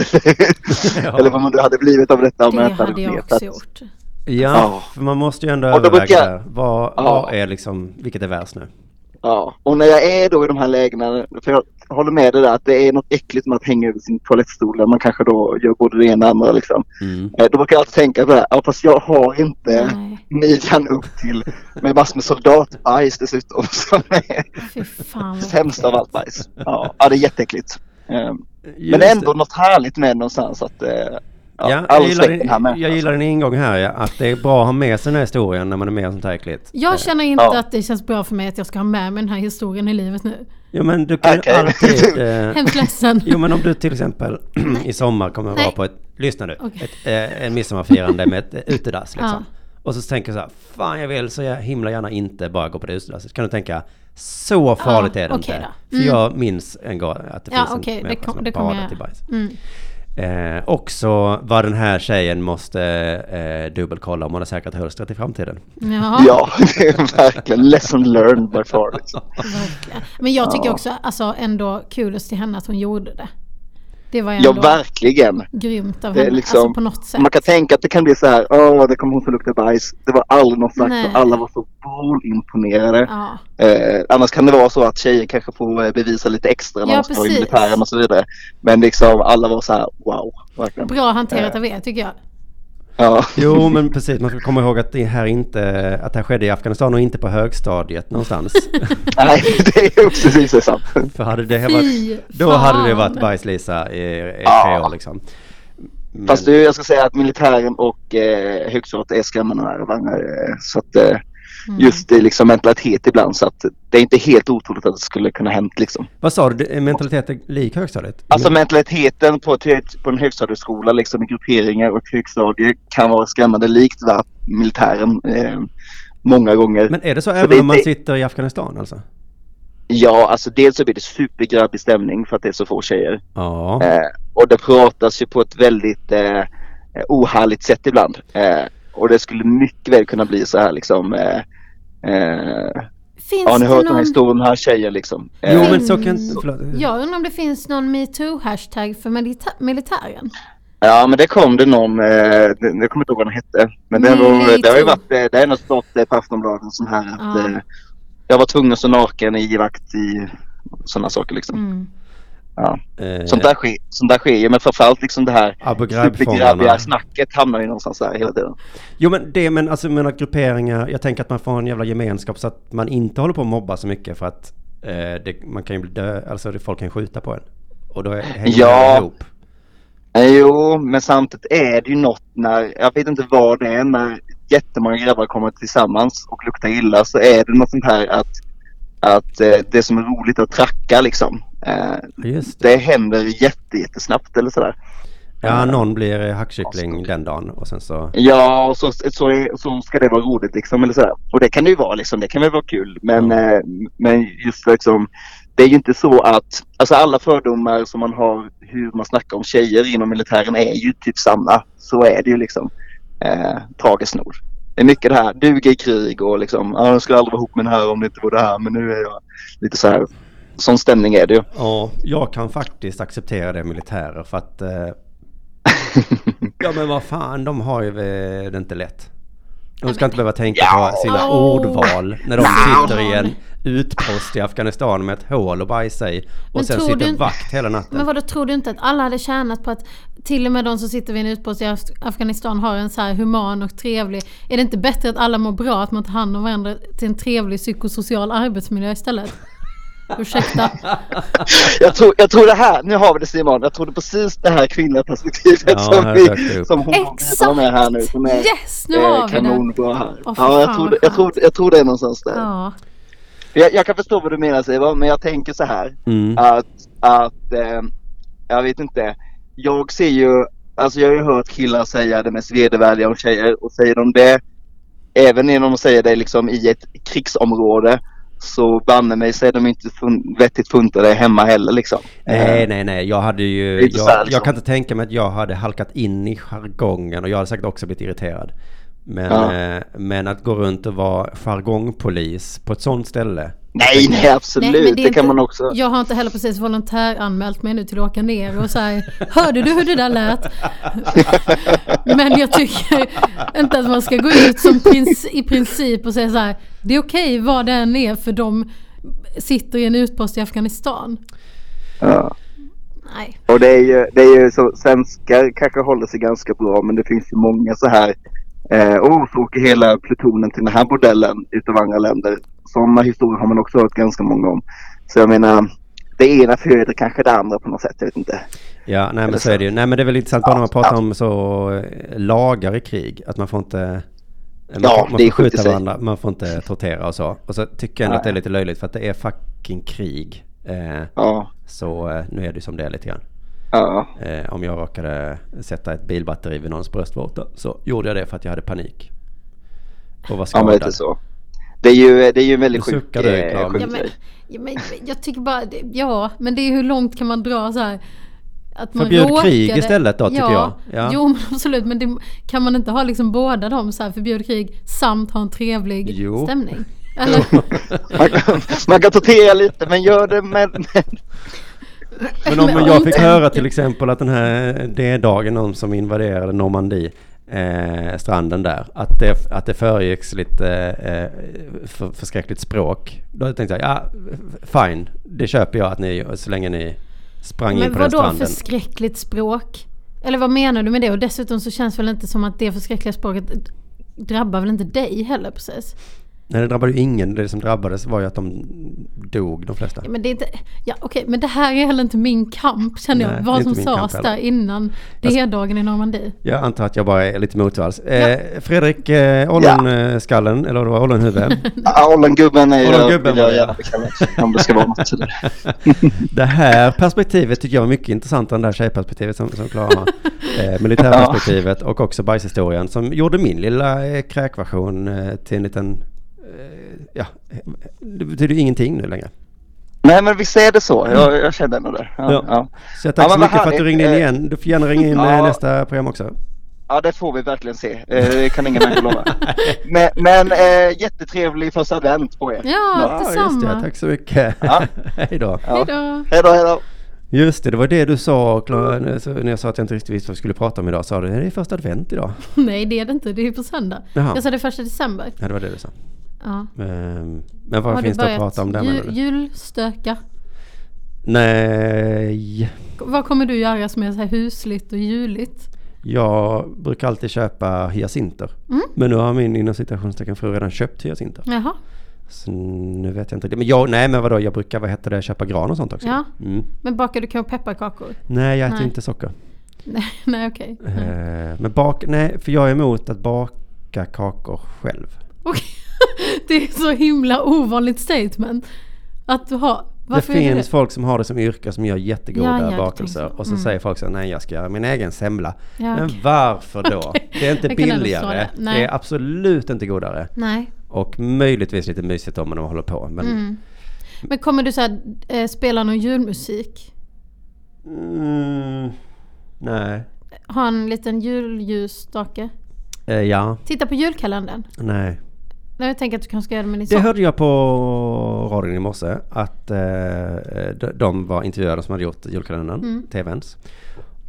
S1: Ja.
S3: Eller vad man nu hade blivit av detta. om
S2: Det
S3: jag inte
S2: hade jag
S3: vetat.
S2: också gjort.
S1: Ja,
S3: Ja.
S1: för man måste ju ändå
S3: Och då
S1: överväga
S3: brukar-
S1: där. Vad,
S3: Ja.
S1: vad är liksom, vilket är värst nu?
S3: Ja, och när jag är då i de här lägena, för jag håller med dig där att det är något äckligt med att hänga över sin toalettstol där man kanske då gör både det ena och det andra liksom.
S1: Mm.
S3: Eh, Då brukar jag alltid tänka på det här, ja fast jag har inte
S2: Nej,
S3: midjan upp till med massor med soldatbajs dessutom som är
S2: fy fan vad
S3: sämst av allt bajs. Ja, ja det är jätteäckligt. Eh,
S1: Just
S3: Men ändå
S1: det.
S3: något härligt med någonstans att eh, ja,
S1: Ja,
S3: all
S1: jag, gillar
S3: respekt den här alltså.
S1: din, jag
S3: människan.
S1: gillar din ingång här ja, att det är bra att ha med sig den här historien när man är med om sånt här äckligt.
S2: Jag känner inte
S3: Ja.
S2: att det känns bra för mig att jag ska ha med mig den här historien i livet nu.
S1: Ja men du kan
S3: Okej.
S1: alltid... Eh,
S2: Hemskt ledsen.
S1: jo men om du till exempel i sommar kommer att vara
S2: Nej.
S1: på ett... Lyssna nu.
S2: Okej.
S1: Ett, eh, en midsommarfirande med ett eh, utedass liksom.
S2: Ja.
S1: Och så tänker du så här, fan jag vill så jag himla gärna inte bara gå på det utedasset. Så kan du tänka, så farligt är det
S2: okej
S1: inte.
S2: då.
S1: För
S2: Mm.
S1: jag minns en gång att det
S2: Ja
S1: finns
S2: okej,
S1: en
S2: det,
S1: människa
S2: kom,
S1: som
S2: det
S1: badar
S2: kommer jag...
S1: till bajs.
S2: Mm.
S1: Eh, också vad den här tjejen måste eh, dubbelkolla om hon har säkrat hölstret i framtiden.
S2: Ja,
S3: Ja, det är verkligen lesson learned by far. Liksom.
S2: verkligen. Men jag tycker
S3: Ja.
S2: också alltså, ändå kudos till henne att hon gjorde det. Det var ju
S3: Ja,
S2: ändå
S3: verkligen.
S2: grymt av
S3: Det är
S2: henne.
S3: liksom-
S2: alltså på något sätt.
S3: Man kan tänka att det kan bli så här, åh, det kommer hon som luktar bajs. Det var aldrig något sagt
S2: Nej.
S3: och alla var så bolimponerade.
S2: Ja,
S3: Eh, annars kan det vara så att tjejer kanske får eh, bevisa lite extra när
S2: Ja,
S3: de står i
S2: precis.
S3: militären och så vidare. Men liksom alla var så här, wow, verkligen.
S2: bra
S3: Eh.
S2: hanterat av er tycker jag.
S3: Ja.
S1: Jo, men precis. Man ska komma ihåg att det här inte, att det här skedde i Afghanistan och inte på högstadiet någonstans.
S3: Nej, det är också precis sant.
S1: För hade det här varit,
S2: Fy
S1: då hade det varit
S2: fan.
S1: bajs-Lisa i, i tre
S3: Ja.
S1: år liksom. Men,
S3: Fast du, jag ska säga att militären och eh, högstadiet är skrämmande nära varandra. eh, Så att eh,
S2: Mm.
S3: just det liksom mentalitet ibland. Så att det är inte helt otroligt att det skulle kunna hänt liksom.
S1: Vad sa du? Det är Mentaliteten lik högstadiet?
S3: Alltså mentaliteten på, ett hög- på en högstadieskola liksom i grupperingar och högstadie kan vara skrämmande likt va, militären eh, många gånger.
S1: men är det så
S3: det-
S1: även om man
S3: det-
S1: sitter i Afghanistan alltså?
S3: Ja, alltså dels så blir det supergrabbig stämning för att det är så få tjejer.
S1: Ja.
S3: Eh, och det pratas ju på ett väldigt eh, ohärligt sätt ibland. Eh, och det skulle mycket väl kunna bli så här liksom. Eh, eh,
S2: Finns
S3: har ni
S2: det
S3: hört den här
S2: någon...
S3: historien om den här tjejen liksom? Eh,
S1: Jo, men så kan...
S2: Mm.
S1: Förlåt. eh,
S2: Jag undrar om det finns någon metoo-hashtag för milita- militären?
S3: Ja men det kom det någon, eh, det- jag kommer inte ihåg vad den hette. Men det, var,
S2: Nej,
S3: det har ju
S2: tror.
S3: varit, eh, det är något stått eh, på Aftonbladet så här att
S2: Ja.
S3: eh, jag var tvungen att stå naken i vakt i sådana saker liksom.
S2: Mm.
S3: Ja.
S1: Eh,
S3: Sånt, där sker, sånt där sker ju men framförallt liksom det här
S1: Abu
S3: supergrabbiga
S1: Ghraib-fångarna.
S3: snacket hamnar ju någonstans där hela tiden.
S1: Jo men det, men alltså jag menar grupperingar, jag tänker att man får en jävla gemenskap så att man inte håller på att mobba så mycket för att eh, det, man kan ju bli dö, alltså det, folk kan skjuta på en. Och då hänger
S3: Ja.
S1: man ihop.
S3: Eh, Jo, men samtidigt är det ju något när, jag vet inte vad det är, när jättemånga grabbar kommer tillsammans och luktar illa så är det något sånt här att, att eh, det som är roligt är att tracka liksom. Eh,
S1: Ja, Just det.
S3: det händer jätte, jättesnabbt eller sådär.
S1: Ja, någon blir eh, hackkyckling den dagen och sen så...
S3: Ja, och så, så, är, så ska det vara roligt liksom eller sådär. Och det kan det ju vara liksom, det kan väl vara kul. Men, eh, men just liksom, det är ju inte så att, alltså alla fördomar som man har hur man snackar om tjejer inom militären är ju typ samma. Så är det ju liksom. Eh, tragiskt nog. Det är mycket det här, duga i krig och liksom, ja, jag skulle aldrig vara ihop med den här om det inte var det här. Men nu är jag lite så här. Sån stämning är det ju.
S1: Ja, jag kan faktiskt acceptera det militärer för att... Eh, ja men vad fan, de har ju eh, det inte lätt. De ska inte behöva tänka på sina
S2: Åh.
S1: ordval när de
S2: Ja.
S1: sitter i en utpost i Afghanistan med ett hål och bajsar i. Och
S2: Men
S1: sen
S2: tror du
S1: sitter
S2: inte-
S1: vakt hela natten.
S2: Men vadå, tror du inte att alla hade tjänat på att till och med de som sitter vid en utpost i Af- Afghanistan har en så här human och trevlig... Är det inte bättre att alla mår bra, att man tar hand om varandra till en trevlig psykosocial arbetsmiljö istället? Ursäkta.
S3: Jag tror, jag tror det här, nu har vi det Simon, jag tror det är precis det här kvinnliga perspektivet
S1: Ja, här
S3: som,
S1: dök det
S3: vi,
S1: upp.
S3: som hon
S2: Exakt!
S3: med här nu. Som är
S2: Yes, nu
S3: eh,
S2: har vi det.
S3: kanonbra här.
S2: Åh, fy
S3: ja, jag
S2: fan,
S3: tror,
S2: vad
S3: jag, tror,
S2: skönt.
S3: jag tror det är någonstans där.
S2: Ja.
S3: Jag, jag kan förstå vad du menar Simon, men jag tänker så här
S1: Mm.
S3: att, att eh, jag vet inte. Jag ser ju, alltså jag har ju hört killar säga det mest vedervärdiga om tjejer och säger de det, även när de säger det liksom i ett krigsområde så banne mig så är de inte fun- vettigt funtade hemma heller liksom.
S1: Nej, nej, nej. Jag hade ju...
S3: Lite så här,
S1: Jag,
S3: liksom.
S1: jag kan inte tänka mig att jag hade halkat in i jargongen och jag hade säkert också blivit irriterad. Men,
S3: Ja.
S1: eh, men att gå runt och vara jargongpolis på ett sånt ställe.
S3: Nej, nej absolut.
S2: Nej, men
S3: det
S2: är
S3: kan
S2: inte-
S3: man också.
S2: Jag har inte heller precis volontäranmält mig nu till att åka ner och säga Hörde du hur det där lät? Men jag tycker inte att man ska gå ut som prins, i princip och säga så här Det är okej vad det än är för de sitter i en utpost i Afghanistan.
S3: Ja.
S2: Nej.
S3: Och det är ju, det är ju så, svenskar kanske håller sig ganska bra men det finns ju många så här. Eh, oh, så åker hela plutonen till den här bordellen utav andra länder. Sådana historier har man också hört ganska många om. Så jag menar, det ena föder kanske det andra på något sätt, jag vet inte.
S1: Ja, nej men
S3: Eller
S1: så är det ju. Nej men det är väl intressant bara när man pratar om så eh, lagar i krig. Att man får inte... eh, Man,
S3: Ja,
S1: får- man
S3: det
S1: får
S3: är sjukt i
S1: skjuta
S3: sig.
S1: varandra, man får inte tortera och så. Och så tycker jag ändå
S3: Nej.
S1: att det är lite löjligt för att det är fucking krig. Eh,
S3: Ja,
S1: så eh, nu är det ju som det är lite grann.
S3: ja.
S1: Eh, om jag råkade sätta ett bilbatteri vid någons bröstvårta så gjorde jag det för att jag hade panik. Och var
S3: ja men
S1: skadad.
S3: lite så. Det är ju, det är ju en väldigt
S1: Nu
S3: sjuk,
S1: suckar du,
S3: eh,
S1: Klara.
S3: sjuk
S2: Ja, men,
S3: grej.
S2: ja, men, jag tycker bara, ja men det är hur långt kan man dra så här? Att
S1: Förbjud krig istället då, tycker jag. Ja.
S2: Jo men absolut men det, kan man inte ha liksom båda dem så här förbjud krig samt ha en trevlig
S1: Jo.
S2: stämning? Eller?
S3: Man kan, man kan tortera lite men gör det med, med
S1: Men om
S2: Men
S1: jag
S2: inte-
S1: fick höra till exempel att den här D-dagen, någon som invaderade Normandie, eh, stranden där, att det, att det föregicks lite eh, för, förskräckligt språk. Då tänkte jag, ja, fine, det köper jag att ni, så länge ni sprang in
S2: Men
S1: på den
S2: vadå
S1: stranden.
S2: förskräckligt språk? Eller vad menar du med det? Och dessutom så känns väl inte som att det förskräckliga språket drabbar väl inte dig heller precis?
S1: Nej, det drabbade ju ingen. Det som drabbades var ju att de dog, de flesta.
S2: Ja, men det är inte... Ja, okej, men det här är heller inte min kamp
S1: Nej,
S2: känner jag.
S1: det är
S2: Vad
S1: inte
S2: som
S1: min
S2: sades
S1: kamp
S2: där
S1: heller.
S2: innan D-dagen i Normandie.
S1: Jag antar att jag bara är lite motvalls. Eh, Fredrik, eh, ollonskallen, eller vad det var, ollonhuvudet.
S3: Ja, Ollongubben är ju...
S1: Ollongubben
S3: vill jag
S1: var det,
S3: gärna
S1: ja.
S3: kalla det, Om det ska vara något. sådär.
S1: Det här perspektivet tycker jag är mycket intressantare än det här tjejperspektivet som, som Klara har. Eh, militärperspektivet och också bajshistorien som gjorde min lilla eh, kräkversion eh, till en liten... Eh, ja, eh, det betyder ju ingenting nu längre.
S3: Nej, men visst är det så. Jag, jag känner ändå det. Ja,
S1: Mm. Ja.
S3: ja. Ja.
S1: Så jag tack
S3: Ja,
S1: så
S3: men vad
S1: mycket för att du
S3: härligt.
S1: ringde in
S3: Eh,
S1: igen. Du får gärna ringa in eh,
S3: ja.
S1: nästa program också.
S3: det får vi verkligen se. Eh, Det kan ingen människa lova. Men, men eh, jättetrevlig första advent på er.
S2: Ja, detsamma.
S1: det. Tack så mycket.
S3: Ja.
S1: Hej då.
S3: Ja.
S2: Hejdå.
S3: Hej då, hej då.
S1: Just det, det var det du sa Klara, när jag sa- när jag sa att jag inte riktigt visste vad vi skulle prata om idag. Sa du, är det första advent idag?
S2: Nej, det är det inte. Det är på söndag.
S1: Jaha.
S2: Jag sa det första december.
S1: Ja, det var det du sa.
S2: Ja.
S1: Ehm, Men vad
S2: Har du
S1: finns det att
S2: börjat
S1: prata om där?
S2: ju-
S1: menar du?
S2: julstöka?
S1: Nej,
S2: Vad kommer du göra som är så här husligt och juligt?
S1: jag brukar alltid köpa hyacinter. Men nu har min inom citationstecken fru redan köpt hyacinter.
S2: Mm? Jaha.
S1: Så nu vet jag inte. riktigt. Men jag, nej men vadå, jag brukar, vad heter det, köpa gran och sånt också.
S2: Ja.
S1: Mm.
S2: Men bakar du kanske pepparkakor?
S1: Nej, jag äter
S2: Nej. Mm.
S1: inte socker.
S2: Nej, nej okej. Nej.
S1: Ehm, Men bak, nej, för jag är emot att baka kakor själv.
S2: Okej. Det är så himla ovanligt statement. Att du har... Varför
S1: det
S2: är
S1: finns folk som har det som yrke som gör
S2: Ja,
S1: jättegoda
S2: ja, det
S1: bakelser.
S2: tänker jag.
S1: Och så
S2: Mm.
S1: säger folk så här, nej jag ska göra min egen semla.
S2: Ja,
S1: men
S2: okej.
S1: varför då?
S2: Okej.
S1: Det är inte
S2: Jag kan ändå
S1: billigare.
S2: förstå det.
S1: Det.
S2: Nej.
S1: är absolut inte godare.
S2: Nej.
S1: Och möjligtvis lite mysigt om man håller på. Men mm.
S2: Mm. Men kommer du så här, eh, spela någon julmusik? Mm.
S1: Mm, nej.
S2: Ha en liten julljusstake?
S1: Eh, ja,
S2: Titta på julkalendern.
S1: nej.
S2: Nej, jag tänker att du kanske ska göra det med din
S1: Det
S2: son.
S1: hörde jag på radion i morse att eh, de- de var intervjuade som hade gjort julkalendern,
S2: Mm.
S1: TVns.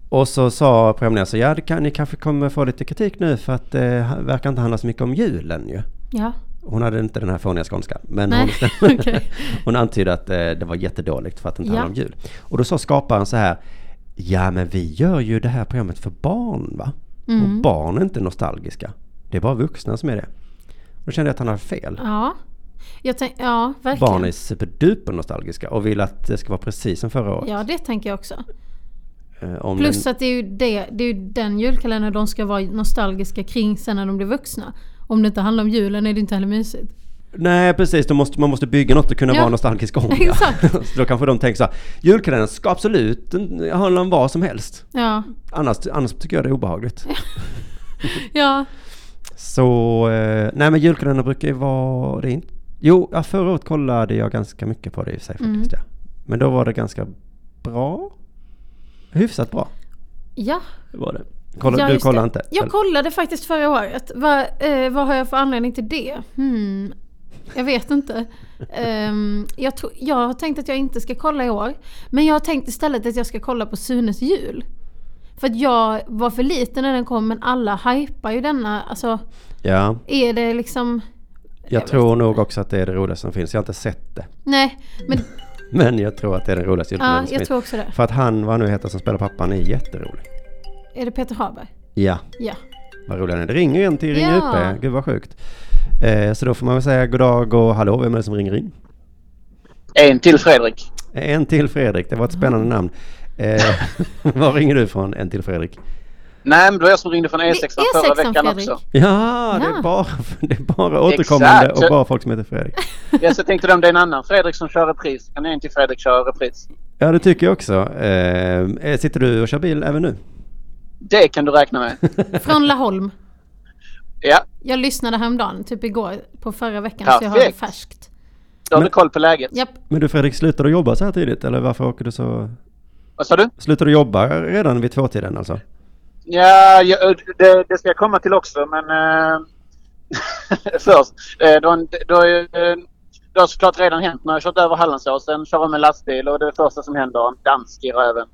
S1: Och så sa programledaren så ja, det kan, ni kanske kommer få lite kritik nu för att det eh, verkar inte handla så mycket om julen ju.
S2: Ja.
S1: Hon hade inte den här fåniga skånskan. Men
S2: Nej,
S1: hon,
S2: okej.
S1: hon antydde att eh, det var jättedåligt för att det inte
S2: Ja.
S1: handlade om jul. Och då sa skaparen så här. Ja men vi gör ju det här programmet för barn va?
S2: Mm.
S1: Och barn är inte nostalgiska. Det är bara vuxna som är det. Då kände jag att han hade fel.
S2: Ja. Jag tänk, ja, verkligen.
S1: barn är superduper nostalgiska och vill att det ska vara precis som förra året.
S2: Ja, det tänker jag också.
S1: Eh, om
S2: Plus
S1: den,
S2: att det är ju, det, det är ju den julkalendern de ska vara nostalgiska kring sen när de blir vuxna. Om det inte handlar om julen är det inte heller mysigt.
S1: nej precis, då måste, man måste bygga något att kunna
S2: Ja.
S1: vara nostalgisk om. ja.
S2: Exakt.
S1: så då kanske de tänker så här. Julkalendern ska absolut handla om vad som helst.
S2: Ja,
S1: Annars, annars tycker jag det är obehagligt.
S2: ja.
S1: Så, eh, nej men julkalendern brukar ju vara, det är inte, jo ja, förra året kollade jag ganska mycket på det i och för sig
S2: Mm.
S1: faktiskt ja. Men då var det ganska bra, hyfsat bra
S2: ja.
S1: var det. Kolla,
S2: ja
S1: du
S2: just
S1: kollar
S2: det.
S1: inte?
S2: Jag
S1: Eller?
S2: kollade faktiskt förra året. Vad, eh, vad har jag för anledning till det? Hmm. Jag vet inte. Ehm, jag, tror, jag har tänkt att jag inte ska kolla i år. Men jag har tänkt istället att jag ska kolla på Sunes jul. För att jag var för liten när den kom men alla hypar ju denna. Alltså,
S1: ja,
S2: är det liksom...
S1: jag,
S2: vet
S1: tror nog också att det är det roligaste som finns. Jag har inte sett det.
S2: Nej, men
S1: Men jag tror att det är den roligaste
S2: ja,
S1: julkalendern som
S2: jag
S1: finns.
S2: tror också det.
S1: För att han, vad han nu heter som spelar pappan, är jätterolig.
S2: Är det Peter Haber?
S1: Ja,
S2: Ja.
S1: vad rolig han är. Det ringer en till Ring
S2: Ja.
S1: UP. Gud vad sjukt. Eh, så då får man väl säga god dag och hallå, vem är det som ringer in?
S4: En till Fredrik.
S1: En till Fredrik, det var ett spännande namn. Eh, var ringer du från? En till Fredrik.
S4: Nej, men det var jag som ringde från
S2: Det
S4: E6
S2: är
S4: E förra
S2: E sexan,
S4: veckan
S2: Fredrik.
S4: också.
S1: Ja, det
S2: Ja.
S1: är bara, det är bara återkommande
S4: Exakt.
S1: och bara folk som heter Fredrik.
S4: Ja, så tänkte de om det är en annan Fredrik som kör repris. Kan en till Fredrik köra repris?
S1: Ja, det tycker jag också. Eh, sitter du och kör bil även nu?
S4: Det kan du räkna med.
S2: Från Laholm.
S4: Ja,
S2: Jag lyssnade häromdagen, typ igår, på förra veckan. Så jag har det
S4: Perfekt.
S2: färskt.
S4: då har
S1: Men-
S4: du koll på läget.
S2: Japp.
S1: Men du Fredrik, slutar du jobba så här tidigt? Eller varför åker du så...
S4: Vad sa du?
S1: Slutar du jobba redan vid tvåtiden alltså?
S4: Ja, ja det, det ska jag komma till också, men... Eh, först. Eh, då, då, eh, Det har såklart redan hänt när jag kört över Hallandsåsen, kör om en lastbil och det första som händer, en dansk i röven.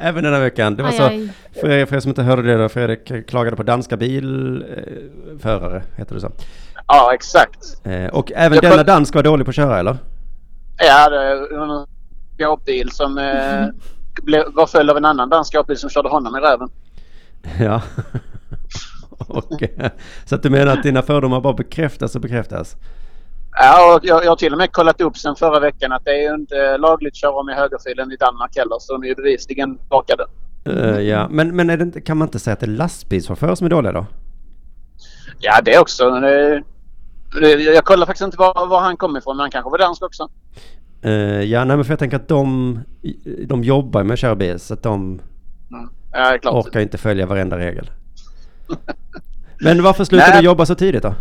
S1: Även den här veckan. Det var
S2: Aj,
S1: så,
S2: aj.
S1: För, er, för er som inte hörde det då, Fredrik klagade på danska bilförare, heter det så.
S4: Ja, exakt.
S1: Eh, Och även
S4: Jag
S1: denna
S4: kan-
S1: dansk var dålig på att köra eller?
S4: Ja, det är en skåpbil som eh, blev, var följd av en annan dansk skåpbil som körde honom i röven.
S1: Ja. och, eh, så att du menar att dina fördomar bara bekräftas och bekräftas?
S4: Ja, och jag, jag har till och med kollat upp sen förra veckan att det är ju inte lagligt att köra om i högerfilen i Danmark heller, så de är ju bevisligen bakade.
S1: Eh, ja, men, men är det inte, kan man inte säga att det är lastbilschaufförer som är dåliga då?
S4: Ja, det också. men Det, det, jag kollar faktiskt inte var, var han kom ifrån, men han kanske var dansk också.
S1: Eh, ja, nej men för jag tänker att de, de jobbar med att köra bil så att de
S4: Ja, det är klart.
S1: orkar inte följa varenda regel. Men varför slutade
S4: Nej.
S1: du jobba så tidigt då?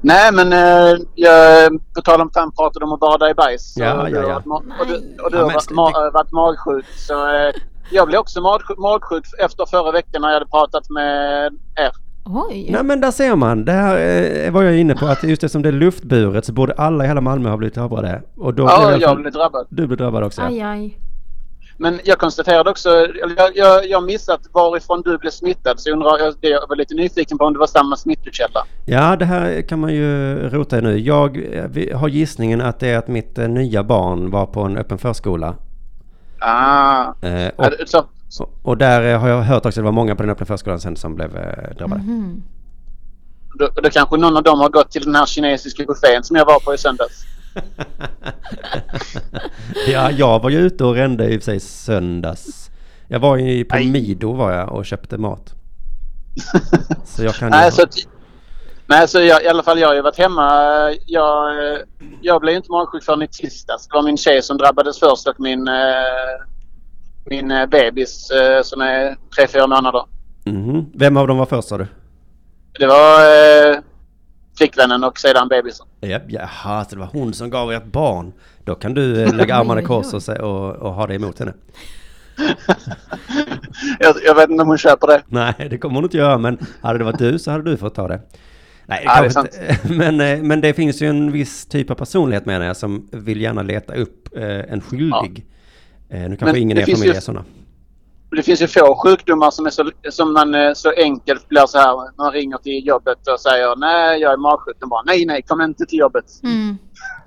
S4: Nej, men eh, jag, på tal om tant pratade om att bada i bajs.
S1: Ja,
S4: och, du
S1: ja,
S4: har
S1: ja.
S4: varit ma- och du, och du
S1: Ja,
S4: har
S1: men
S4: varit,
S1: sl-
S4: ma- varit magsjuk. Så, eh, jag blev också magsjuk, magsjuk efter förra veckan när jag hade pratat med er.
S2: Oj.
S1: Nej men där ser man, det här eh, var jag inne på att just eftersom det är luftburet så borde alla i hela Malmö ha blivit drabbade. Och då
S4: Ja, Ah,
S1: blev i alla
S4: jag
S1: fall-
S4: blev drabbad.
S1: Du blev drabbad också ja.
S2: Aj, aj.
S4: Men jag konstaterade också, eller jag, jag, jag missat varifrån du blev smittad. Så jag, undrar, jag, jag var lite nyfiken på om det var samma smittokälla.
S1: Ja, det här kan man ju rota i nu. Jag eh, vi- har gissningen att det är att mitt eh, nya barn var på en öppen förskola.
S4: Ah.
S1: Eh, och,
S4: Ja, det- så,
S1: och- och där eh, har jag hört också att det var många på den öppna förskolan sen som blev eh, drabbade.
S4: Mm.
S2: Mhm.
S4: då, då kanske någon av dem har gått till den här kinesiska buffén som jag var på i söndags.
S1: ja, jag var ju ute och rände i och för sig söndags. Jag var ju på
S4: Aj.
S1: Mido var jag och köpte mat. Så jag kan ju...
S4: Nej, så att, nej, så jag, i alla fall jag har ju varit hemma. Jag, eh, jag blev inte magsjuk förrän i tisdags. Det var min tjej som drabbades först och min, eh, min eh, bebis eh, som är tre, fyra månader.
S1: Mhm. Vem av dem var först sa du?
S4: Det var eh, flickvännen och sedan bebisen.
S1: Japp, Jaha, så det var hon som gav ert barn. Då kan du eh, lägga armarna i
S2: Oj,
S1: kors
S2: oj.
S1: och, se- och, och ha det emot henne.
S4: Jag, jag vet inte om hon köper det.
S1: Nej, det kommer hon inte göra, men hade det varit du så hade du fått ta det. Nej,
S4: Ja, det är
S1: kanske inte. Men, eh, men det finns ju en viss typ av personlighet menar jag som vill gärna leta upp eh, en skyldig. Eh, Nu kanske
S4: Men
S1: ingen
S4: det
S1: är
S4: finns
S1: familj
S4: ju-
S1: är sådana.
S4: Det finns ju få sjukdomar som, är så, som man eh, så enkelt blir så här. Man ringer till jobbet och säger nej, jag är magsjuk. De bara nej, nej, kom inte till jobbet.
S2: Mm.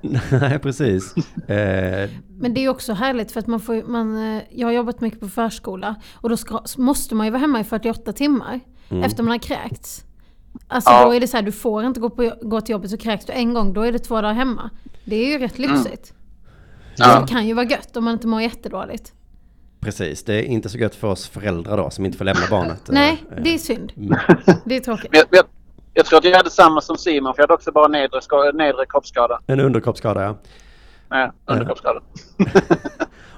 S1: Nej, precis. Eh,
S2: Men det är också härligt för att man får, man, eh, jag har jobbat mycket på förskola och då ska, måste man ju vara hemma i 48 timmar efter man har kräkts. Alltså
S4: Ja.
S2: då är det så här, du får inte gå, på, gå till jobbet så kräks du en gång, då är det två dagar hemma. Det är ju rätt lyxigt.
S4: Ja.
S2: Det kan ju vara gött om man inte mår jättedåligt.
S1: precis, det är inte så gött för oss föräldrar då som inte får lämna barnet. eh,
S2: Nej,
S1: eh,
S2: det är Mm. synd. Det är tråkigt.
S4: Men jag, jag, jag tror att jag hade samma som Simon, för jag hade också bara nedre, ska- nedre kroppsskada.
S1: En underkroppsskada, ja.
S4: Nej, underkroppsskada.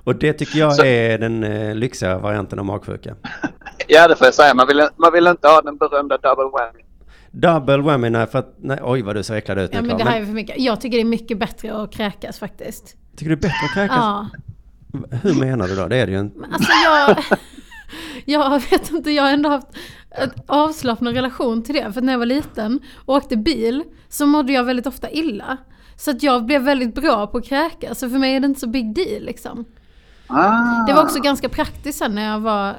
S1: Och det tycker jag
S4: Så-
S1: är den eh, lyxiga varianten av magsjuka.
S4: Ja, det får jag säga. Man vill, man vill inte ha den berömda double whammy.
S1: Double whammy, nej för att... Nej, oj vad du ser äcklad ut nu
S2: Ja, men
S1: Klara.
S2: det här är för mycket. Jag tycker det är mycket bättre att kräkas faktiskt.
S1: Tycker du det är bättre att kräkas?
S2: Ja.
S1: Hur menar du då? Det är det ju en...
S2: Alltså jag... Jag vet inte, jag har ändå haft en avslappnad relation till det. För när jag var liten och åkte bil så mådde jag väldigt ofta illa. Så att jag blev väldigt bra på att kräkas. Så för mig är det inte så big deal liksom.
S4: Ah.
S2: Det var också ganska praktiskt sen när jag var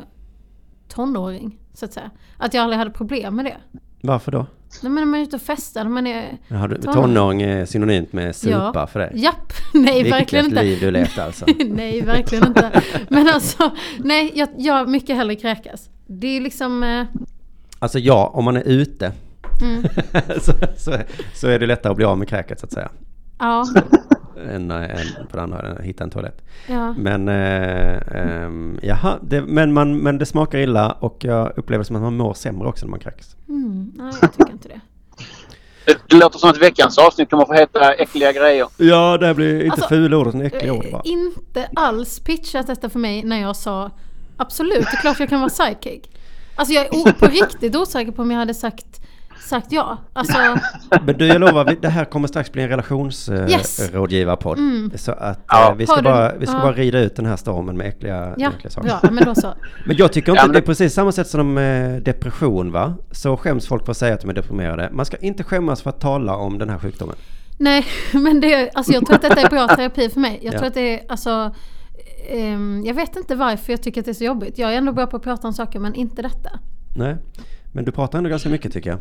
S2: tonåring. Så att säga. Att jag aldrig hade problem med det.
S1: Varför då?
S2: Nej men när man är ute och festar, när man är...
S1: Jaha, du-
S2: Tonåring.
S1: tonåring är synonymt med supa
S2: Ja.
S1: för dig.
S2: Japp! Nej
S1: Vilket
S2: verkligen inte.
S1: liv du levt alltså.
S2: nej, verkligen inte. Men alltså, nej, jag, jag mycket hellre kräkas. Det är liksom... Eh,
S1: Alltså ja, om man är ute
S2: mm,
S1: så, så, så är det lättare att bli av med kräket så att säga.
S2: ja,
S1: Än, eh, än på den andra, än att hitta en toalett.
S2: ja.
S1: Men, eh, ehm, jaha, det, men, man, men det smakar illa och jag upplever som att man mår sämre också när man kräks.
S2: Mm, nej, jag tycker inte det.
S4: Det, det låter som att veckans avsnitt kommer att få heta äckliga grejer.
S1: Ja, det här blir inte
S2: Alltså,
S1: fula ord utan äckliga ord
S2: Eh,
S1: bara.
S2: Inte alls pitchat detta för mig när jag sa absolut, det är klart jag kan vara psychic. Alltså jag är o- på riktigt osäker på om jag hade sagt, sagt ja. Alltså,
S1: Men du, jag lovar, vi- det här kommer strax bli en
S2: Yes.
S1: relationsrådgivarpodd.
S2: Mm.
S1: Så att
S4: Ja.
S1: eh, vi, ska
S2: Har du-
S1: bara, vi ska
S2: ja.
S1: bara rida ut den här stormen med äckliga,
S2: ja,
S1: äckliga saker.
S2: bra, men då så.
S1: Men jag tycker inte
S4: Ja,
S1: att
S4: men
S1: det är
S4: det-
S1: precis samma sätt som eh, depression va? Så skäms folk för att säga att de är deprimerade. Man ska inte skämmas för att tala om den här sjukdomen.
S2: Nej, men det, alltså jag tror att detta är bra terapi för mig. Jag tror att det är, alltså, ehm, jag vet inte varför jag tycker att det är så jobbigt. Jag är ändå bra på att prata om saker, men inte detta.
S1: Nej, men du pratar ändå ganska mycket tycker jag.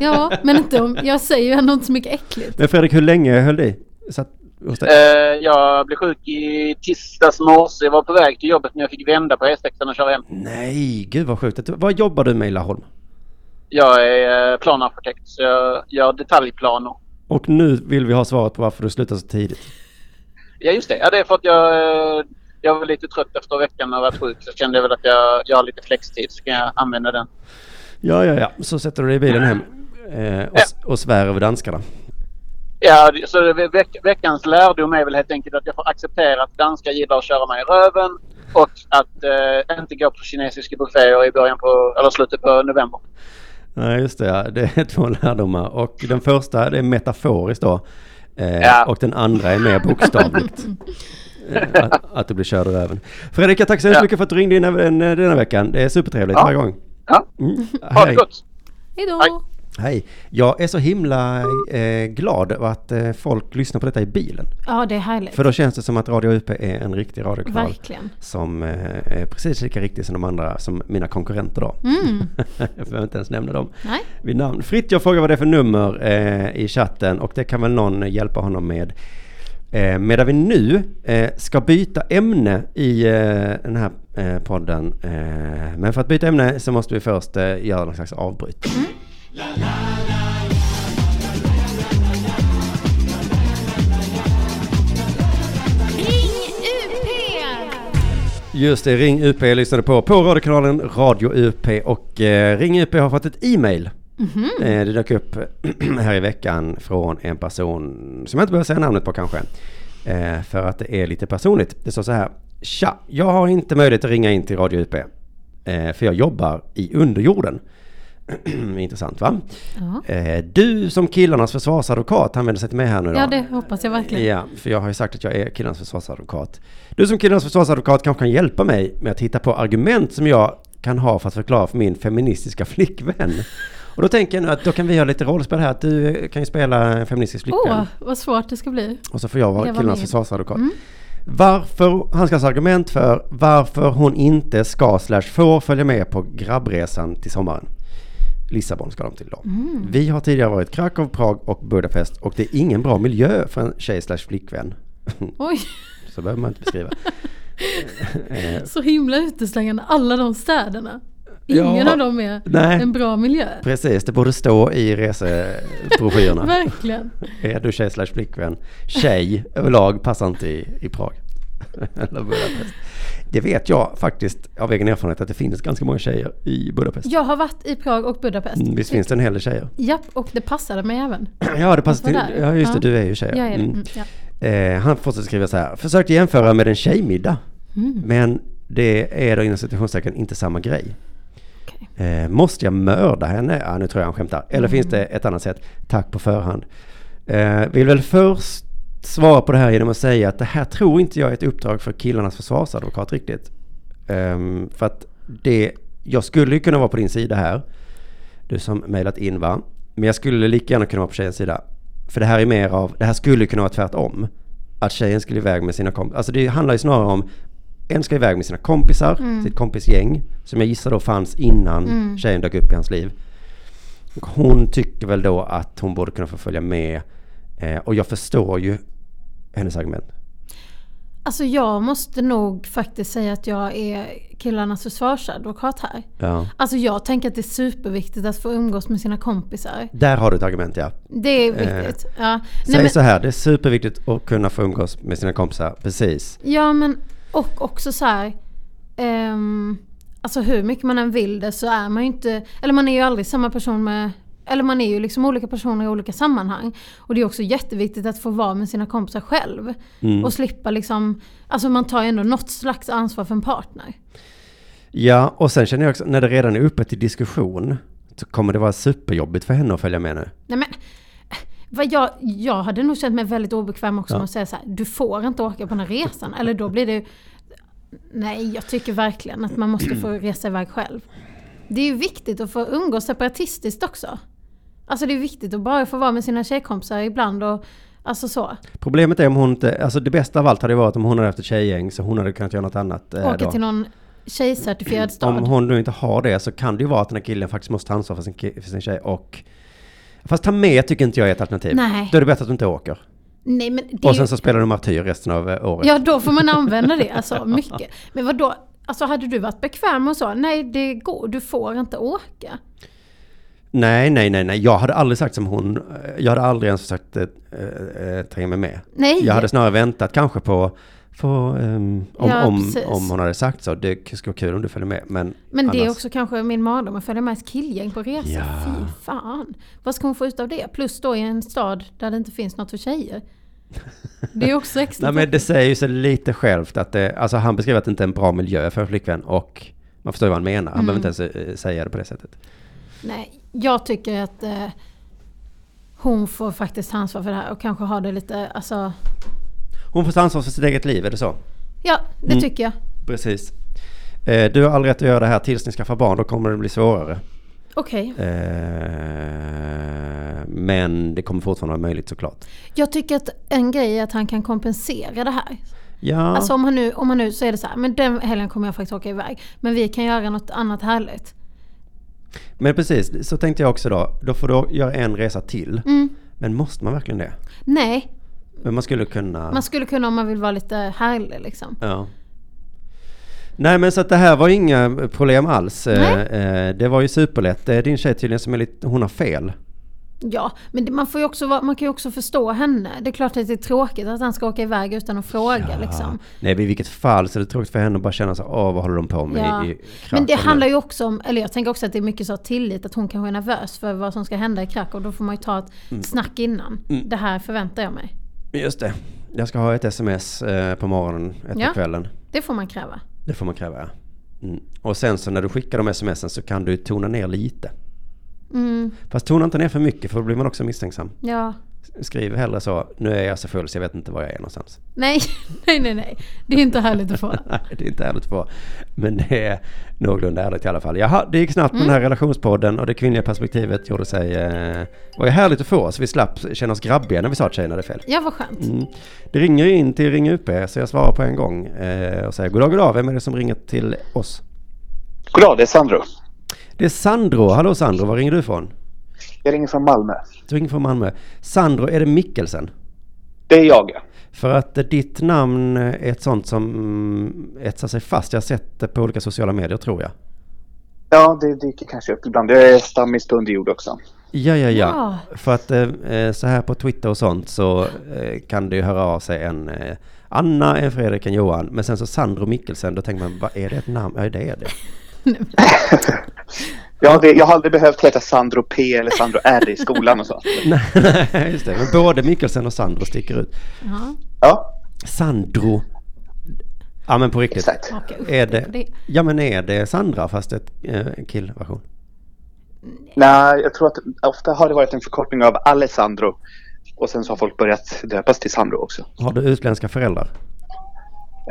S2: Ja, men inte om, jag säger ju ändå inte så mycket äckligt.
S1: Men Fredrik, hur länge höll det i? Satt hos dig?
S4: Eh, jag blev sjuk i tisdags morse. Jag var på väg till jobbet men jag fick vända på E6 och köra hem.
S1: Nej, gud vad sjukt. Det- Vad jobbar du med i Laholm?
S4: Jag är eh, planarkitekt så jag gör detaljplaner.
S1: Och nu vill vi ha svaret på varför du slutar så tidigt.
S4: Ja just det. Ja, det är för att jag, eh, jag var lite trött efter veckan och varit sjuk. Så kände jag väl att jag, jag har lite flextid så kan jag använda den.
S1: Ja, ja, ja. Så sätter du dig i bilen hem eh, och, och svär över danskarna.
S4: Ja, det- så ve- veck, veckans lärdom är väl helt enkelt att jag får acceptera att danskar gillar att köra mig i röven och att eh, inte gå på kinesiska bufféer i början på, eller slutet på november.
S1: Nej, just det. Ja. Det är två lärdomar. Och den första, det är metaforiskt då. Eh,
S4: Ja.
S1: Och den andra är mer bokstavligt. Eh, att, att du blir körd i röven. Fredrik, jag tackar så hemskt
S4: Ja.
S1: mycket för att du ringde in även den här veckan. Det är supertrevligt
S4: Ja.
S1: varje gång.
S4: Ja,
S1: Mm.
S4: ha det
S1: Hej.
S4: gott!
S2: Hejdå!
S1: Hej. Jag är så himla eh, glad över att eh, folk lyssnar på detta i bilen.
S2: Ja, det är härligt.
S1: För då känns det som att Radio UP är en riktig radiokanal.
S2: Verkligen.
S1: Som eh, är precis lika riktig som de andra, som mina konkurrenter då.
S2: Mm.
S1: jag behöver inte ens nämna dem
S2: Nej.
S1: vid namn. Fritt, jag frågar vad det är för nummer eh, i chatten och det kan väl någon hjälpa honom med. Eh, medan vi nu eh, ska byta ämne i eh, den här eh, podden. Eh, men för att byta ämne så måste vi först eh, göra någon slags avbryt.
S5: Ring UP!
S1: Just det, Ring UP lyssnade på på radiokanalen Radio UP och eh, Ring UP har fått ett e-mail.
S2: Mhm.
S1: Eh, det dök upp här i veckan från en person som jag inte behöver säga namnet på kanske. Eh, för att det är lite personligt. Det står så här. Tja, jag har inte möjlighet att ringa in till Radio UP. Eh, för jag jobbar i underjorden. Intressant va?
S2: Ja.
S1: Eh, du som killarnas försvarsadvokat använder sig till mig här nu då.
S2: ja, det hoppas jag verkligen.
S1: Ja, för jag har ju sagt att jag är killens försvarsadvokat. Du som killens försvarsadvokat kanske kan hjälpa mig med att hitta på argument som jag kan ha för att förklara för min feministiska flickvän. Och då tänker jag nu att då kan vi göra lite rollspel här. Att du kan ju spela en feministisk
S2: Åh,
S1: flickvän.
S2: vad svårt det ska bli.
S1: Och så får jag vara
S2: jag var
S1: killens
S2: med. Mm.
S1: försvarsadvokat. Varför, han ska ha argument för varför hon inte ska slash får följa med på grabbresan till sommaren. Lissabon ska de till då.
S2: Mm.
S1: Vi har tidigare varit Krakow, Prag och Budapest och det är ingen bra miljö för en tjej slash flickvän.
S2: Oj,
S1: Så behöver man inte beskriva. Eh,
S2: så himla uteslängande. Alla de städerna. Ingen
S1: Ja.
S2: av dem är
S1: Nej.
S2: en bra miljö.
S1: Precis, det borde stå i resebroschyrerna.
S2: Verkligen.
S1: Är du tjej slash flickvän? Tjej överlag passar inte i, i Prag. Eller Budapest. Det vet jag faktiskt av egen erfarenhet att det finns ganska många tjejer i Budapest.
S2: Jag har varit i Prag och Budapest.
S1: Mm, Visst finns det en hel del tjejer?
S2: Japp, och det passade mig även.
S1: Ja, det passar
S2: Vad
S1: till.
S2: var det?
S1: Ja, just det,
S2: Ja.
S1: du är ju tjej.
S2: Jag är det.
S1: Mm.
S2: Mm, Mm. ja.
S1: Eh, han fortsätter skriva så här. Försökte jämföra med en tjejmiddag. Men det är då inom citationstecken inte samma grej. Eh, måste jag mörda henne? Ja, nu tror jag han skämtar. Eller finns det ett annat sätt? Tack på förhand. Eh, vill väl först svara på det här genom att säga att det här tror inte jag är ett uppdrag för killarnas försvarsadvokat riktigt. Ehm, för att det, jag skulle ju kunna vara på din sida här. Du som mejlat in va? Men jag skulle lika gärna kunna vara på tjejens sida. För det här är mer av, det här skulle kunna vara tvärtom. Att tjejen skulle iväg med sina kompisar. Alltså det handlar ju snarare om, en ska iväg med sina kompisar,
S2: Mm.
S1: sitt kompisgäng. Som jag gissar då fanns innan tjejen dök upp i hans liv. Och Hon tycker väl då att hon borde kunna få följa med. Eh, och jag förstår ju hennes argument.
S2: Alltså jag måste nog faktiskt säga att jag är killarnas försvarsadvokat här.
S1: Ja.
S2: Alltså jag tänker att det är superviktigt att få umgås med sina kompisar.
S1: Där har du ett argument ja.
S2: Det är viktigt. Ja.
S1: Eh, Säg
S2: men,
S1: så här, det är superviktigt att kunna få umgås med sina kompisar. Precis.
S2: ja men och också så här. ehm, alltså hur mycket man än vill det så är man ju inte, eller man är ju aldrig samma person med eller man är ju liksom olika personer i olika sammanhang. Och det är också jätteviktigt att få vara med sina kompisar själv. Och slippa liksom, alltså man tar ju ändå något slags ansvar för en partner.
S1: Ja, och sen känner jag också, när det redan är uppe till diskussion så kommer det vara superjobbigt för henne att följa med nu.
S2: Nej men, eh, vad jag, jag hade nog känt mig väldigt obekväm också
S1: Ja.
S2: med att säga så här, du får inte åka på den här resan. Eller då blir det ju- Nej, jag tycker verkligen att man måste få resa iväg själv. Det är ju viktigt att få umgås separatistiskt också. Alltså det är viktigt att bara få vara med sina tjejkompisar ibland och alltså så.
S1: Problemet är om hon inte, alltså det bästa av allt hade varit om hon hade haft ett tjejgäng så hon hade kunnat göra något annat. eh,
S2: Åka
S1: då.
S2: till någon tjejcertifierad
S1: Om
S2: stad.
S1: hon nu inte har det så kan det ju vara att den här killen faktiskt måste ta ansvar för sin, ki- för sin tjej och... Fast ta med tycker inte jag är ett alternativ.
S2: Nej.
S1: Då är det bättre att du inte åker.
S2: Nej men det
S1: Och
S2: är ju,
S1: sen så spelar du martyr resten av eh, året.
S2: Ja då får man använda det alltså mycket. Men vad då? Alltså hade du varit bekväm och så? Nej det går, du får inte åka.
S1: Nej, nej, nej, nej. Jag hade aldrig sagt som hon. eh, Jag hade aldrig ens sagt eh, eh, ta med mig.
S2: Nej.
S1: Jag hade snarare väntat kanske på, på ehm, om,
S2: Ja,
S1: om,
S2: precis.
S1: om hon hade sagt så. Det k- skulle vara kul om du följer med. Men,
S2: Men det är
S1: annars-
S2: också kanske min mardröm att följa med ett killgäng på resa.
S1: Ja.
S2: Fy fan. Vad ska hon få ut av det? Plus då i en stad där det inte finns något för tjejer. Det är också extra
S1: Nej, men det säger ju sig lite självt att det, alltså han beskrev att det inte är en bra miljö för en flickvän och man förstår ju vad han menar. Han
S2: Mm.
S1: behöver inte ens eh, säga det på det sättet.
S2: Nej, jag tycker att eh, hon får faktiskt ta ansvar för det här och kanske ha det lite, alltså,
S1: Hon får ta ansvar för sitt eget liv, är det så?
S2: ja det
S1: Mm.
S2: tycker jag.
S1: Precis. Eh, du har all rätt att göra det här tills ni skaffar barn, då kommer det bli svårare.
S2: Okej.
S1: Eh, men det kommer fortfarande vara möjligt såklart.
S2: Jag tycker att en grej är att han kan kompensera det här.
S1: Ja,
S2: Alltså om han, nu, om han nu så är det så här, men den helgen kommer jag faktiskt åka iväg. Men vi kan göra något annat härligt.
S1: men precis. Så tänkte jag också då. Då får du göra en resa till.
S2: Mm.
S1: Men måste man verkligen det?
S2: Nej,
S1: Men man skulle kunna...
S2: man skulle kunna om man vill vara lite härlig liksom.
S1: Ja. Nej men så att det här var inga problem alls. Eh,
S2: Nej.
S1: eh, det var ju superlätt. Det är din tjej tydligen som är lite... Hon har fel.
S2: Ja, men det- man, får ju också, vara- man kan ju också förstå henne. Det är klart att det är tråkigt att han ska åka iväg utan att fråga liksom.
S1: Nej men i vilket fall så är det tråkigt för henne att bara känna så åh vad håller de på med
S2: Ja.
S1: i, i
S2: Men det
S1: kraken
S2: handlar
S1: nu?"
S2: ju också om, eller jag tänker också att det är mycket så tillit, att hon kanske är nervös för vad som ska hända i Krakow. Då får man ju ta ett
S1: Mm.
S2: snack innan. Det här förväntar jag mig.
S1: Just det. Jag ska ha ett sms eh, på morgonen, ett
S2: Ja.
S1: på kvällen.
S2: Det får man kräva.
S1: Det får man kräva ja. Mm. Och sen så när du skickar de smsen så kan du tona ner lite.
S2: Mm,
S1: Fast tona inte ner för mycket för då blir man också misstänksam.
S2: ja.
S1: Skriv hellre så, nu är jag så full så jag vet inte var jag är någonstans.
S2: Nej, nej, nej, nej. Det är inte härligt att få.
S1: Nej, det är inte ärligt att vara. Men det är någorlunda ärligt i alla fall. Jaha, det gick snabbt med
S2: Mm.
S1: den här relationspodden och det kvinnliga perspektivet gjorde sig... Eh, var ju härligt att få så vi slapp känna oss grabbiga när vi sa att tjejerna hade fel.
S2: Ja, vad skönt.
S1: Mm. Det ringer ju in till Ring UP så jag svarar på en gång eh, och säger goddag, goddag. Vem är det som ringer till oss?
S6: Goddag, det är Sandro.
S1: Det är Sandro. Hallå Sandro, var ringer du ifrån?
S6: Jag ringer från Malmö.
S1: Du ringer från Malmö. Sandro, är det Mikkelsen?
S6: Det är jag. ja.
S1: För att eh, ditt namn är ett sånt som mm, etsar sig fast. Jag har sett det på olika sociala medier tror jag.
S6: Ja, det dyker kanske upp ibland. Jag är stammis på underjord också.
S1: Ja, ja, ja.
S2: Ja.
S1: För att eh, eh, så här på Twitter och sånt så eh, kan det ju höra av sig en eh, Anna, en Fredrik, en Johan. Men sen så Sandro Mikkelsen, då tänker man, vad är det ett namn? Ja, det är det.
S6: Ja, det, jag har aldrig behövt heta Sandro P eller Sandro R i skolan och så.
S1: Nej, nej, just det. Men både Mikkelsen och Sandro sticker ut.
S2: Ja,
S6: Ja,
S1: Sandro. Ja, men på riktigt.
S6: exakt.
S2: haka upp
S1: Är
S2: dig på
S1: det, ja, men är det Sandra fast ett eh, killversion?
S6: Nej, jag tror att ofta har det varit en förkortning av Alessandro. Och sen så har folk börjat döpas till Sandro också.
S1: Har du utländska föräldrar?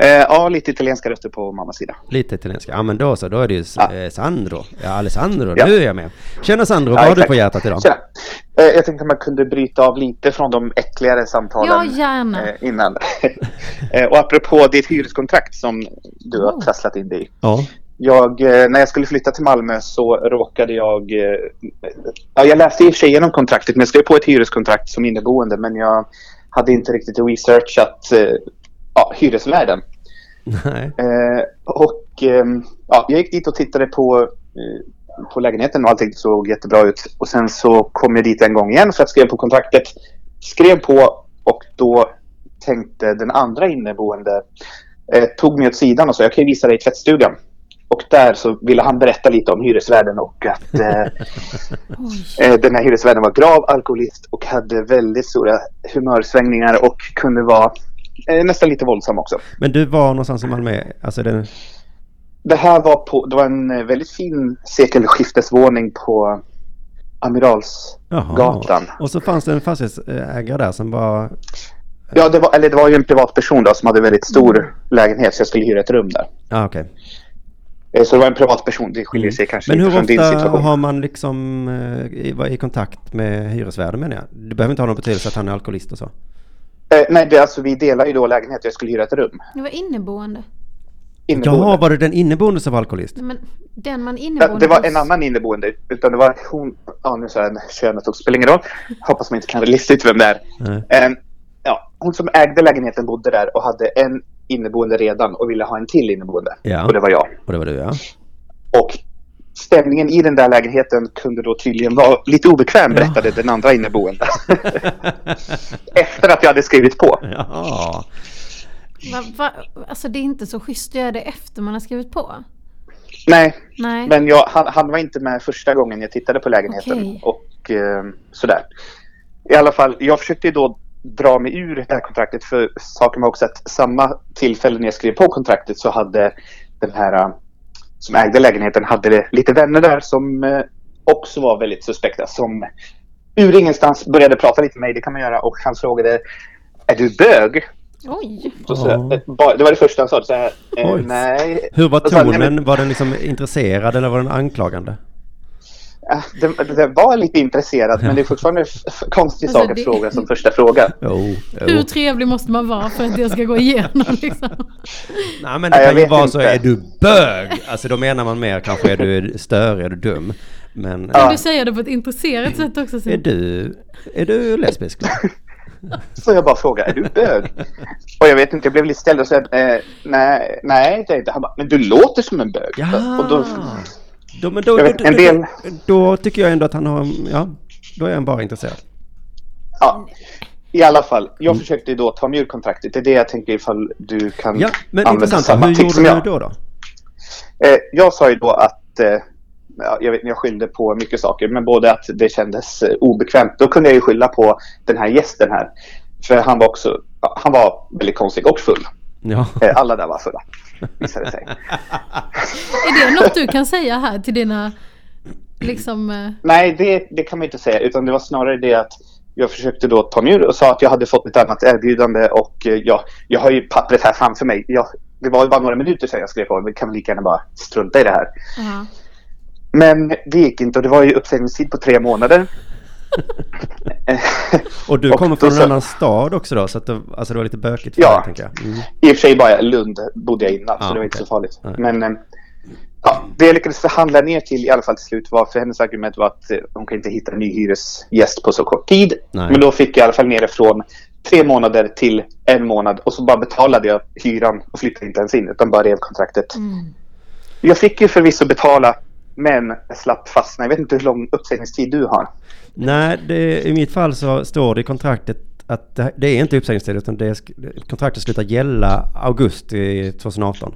S6: Eh, ja, lite italienska röster på mammas sida.
S1: Lite italienska. Ja men då så, då är det ju S-
S6: Ja.
S1: eh, Sandro. Ja, Alessandro,
S6: Ja.
S1: nu är jag med. Tjena Sandro, vad
S6: Ja,
S1: har du
S6: exakt.
S1: på hjärtat idag?
S6: Tjena. Eh, jag tänkte att man kunde bryta av lite från de äckligare samtalen
S2: Ja, gärna.
S6: eh, innan. Eh, och apropå ditt hyreskontrakt som du har
S2: Oh.
S6: trasslat in dig i.
S1: Ja.
S6: Jag, eh, när jag skulle flytta till Malmö så råkade jag... eh, Ja, jag läste i och för sig igenom kontraktet, men jag skrev på ett hyreskontrakt som inneboende. Men jag hade inte riktigt researchat eh, ja, hyresvärden.
S1: Nej.
S6: Eh, och ehm, ja, jag gick dit och tittade på, eh, på lägenheten och allting såg jättebra ut. Och sen så kom jag dit en gång igen för att skriva på kontraktet. Skrev på och då tänkte den andra inneboende, eh, tog mig åt sidan och sa jag kan ju visa dig tvättstugan. Och där så ville han berätta lite om hyresvärden och att eh,
S2: Oj.
S6: Eh, Den här hyresvärden var grav alkoholist och hade väldigt stora humörsvängningar och kunde vara eh, nästan lite våldsam också.
S1: Men du var någonstans i Malmö, alltså den...
S6: Det här var, på, det var en eh, väldigt fin sekelskiftesvåning på Amirals...
S1: Jaha.
S6: Gatan.
S1: Och så fanns det en fastighetsägare där som var...
S6: Ja, det var, eller det
S1: Mm.
S6: var ju en privatperson då som hade en väldigt stor lägenhet så jag skulle hyra ett rum där.
S1: Ja ah, okej.
S6: Eh, Så det var en privatperson, det skiljer sig kanske
S1: Mm. Men hur
S6: lite från Typ, din
S1: ofta
S6: situation.
S1: har man liksom eh, i, var i kontakt med hyresvärden menar jag? Det behöver inte ha någon betydelse att han är alkoholist och så.
S6: Eh, nej, det, alltså vi delar ju då lägenhet, jag skulle hyra ett rum.
S2: Det var inneboende.
S6: Inneboende.
S1: Jaha, var det den inneboende som var alkoholist?
S2: Nej, Men den man
S6: Ja,
S2: inneboende
S6: Det var
S2: hos-
S6: en annan inneboende, utan det var hon, ja nu sa jag könet också, spelar ingen roll. Hoppas man inte kan lista ut vem det är.
S1: Nej.
S6: Eh, ja, hon som ägde lägenheten bodde där och hade en inneboende redan och ville ha en till inneboende.
S1: Ja.
S6: Och det var jag.
S1: Och det var du ja.
S6: Och stämningen i den där lägenheten kunde då tydligen vara lite obekväm, berättade den andra inneboende. Efter att jag hade skrivit på.
S1: ja.
S2: Va, va, alltså det är inte så schysst att göra det efter man har skrivit på.
S6: Nej,
S2: Nej.
S6: men jag, han, han var inte med första gången jag tittade på lägenheten.
S2: Okej.
S6: Och eh, sådär. I alla fall, jag försökte ju då dra mig ur det här kontraktet. För saken var också att samma tillfälle när jag skrev på kontraktet så hade den här eh, som ägde lägenheten hade lite vänner där som eh, också var väldigt suspekta. Som ur ingenstans började prata lite med mig, det kan man göra. Och han frågade Är du bög?
S2: Oj.
S6: Så sa jag,
S1: Ja.
S6: eh, ba- Det var det första han sa. Så här, eh,
S1: Oj.
S6: nej,
S1: Hur var
S6: Och sen- nej, men-
S1: tonen? Var den liksom intresserad eller var den anklagande?
S6: Ah, Den, den var lite intresserad, men det är fortfarande en f- f- konstig sak
S2: Alltså,
S6: att
S2: det-
S6: fråga som första fråga.
S1: Jo,
S2: Hur
S1: jo.
S2: trevlig måste man vara för att det ska gå igenom liksom?
S1: Nej men det
S6: Nej, jag
S1: kan ju
S6: vet
S1: vara så,
S6: inte.
S1: är du bög? Alltså då menar man mer kanske, är du störig, är du dum? Men eh,
S2: Kan
S6: Ja.
S2: du säga det på ett intresserat sätt också?
S1: är
S2: Simon?
S1: du, är du lesbisk? då?
S6: Så jag bara frågade, är du bög? Och jag vet inte, jag blev lite ställd och sa, eh, nej, nej, det är inte. Han bara, men du låter som en bög.
S1: Ja.
S6: Och då,
S1: Då, men då,
S6: Jag vet,
S1: då,
S6: en
S1: då,
S6: del-
S1: då, då tycker jag ändå att han har, ja, då är han bara intresserad.
S6: ja. I alla fall, jag
S1: Mm.
S6: försökte ju då ta mig ur kontraktet. Det är det jag tänker ifall du kan
S1: Ja, men
S6: använda
S1: intressant.
S6: samma
S1: Hur
S6: tips som
S1: gjorde
S6: jag.
S1: du då? då?
S6: Eh, jag sa ju då att eh, ja, jag, vet, jag skyllde på mycket saker, men både att det kändes eh, obekvämt. Då kunde jag ju skylla på den här gästen här. För han var också ja, han var väldigt konstig och full.
S1: Ja.
S6: Eh, alla där var fulla, visade det sig.
S2: Är det något du kan säga här till dina liksom... eh,
S6: Nej, det, det kan man inte säga, utan det var snarare det att jag försökte då ta mig ur och sa att jag hade fått ett annat erbjudande och eh, jag, jag har ju pappret här framför mig. Jag, det var ju bara några minuter sedan jag skrev på, vi kan väl lika gärna bara strunta i det här.
S2: Ja.
S6: Men det gick inte och det var ju uppsägningstid på tre månader.
S1: Och du
S6: Och
S1: kommer
S6: då
S1: från en
S6: så-
S1: annan stad också då, så att det, alltså det var lite bökigt för
S6: Ja.
S1: dig, tänker jag. Mm.
S6: I och för sig bara Lund bodde jag innan,
S1: Ah,
S6: så det var inte
S1: okej.
S6: så farligt.
S1: Nej.
S6: Men eh, ja, det jag lyckades förhandla ner till i alla fall till slut var, för hennes argument var att eh, hon kan inte hitta en ny hyresgäst på så kort tid.
S1: Nej.
S6: Men då fick jag i alla fall ner det från tre månader till en månad och så bara betalade jag hyran och flyttade inte ens in utan bara rev kontraktet.
S2: Mm.
S6: Jag fick ju förvisso betala men jag slapp fastna. Jag vet inte hur lång uppsägningstid du har.
S1: Nej, det, i mitt fall så står det i kontraktet att det, det är inte uppsägningstid, utan det är, sk- kontraktet slutar gälla augusti 2018.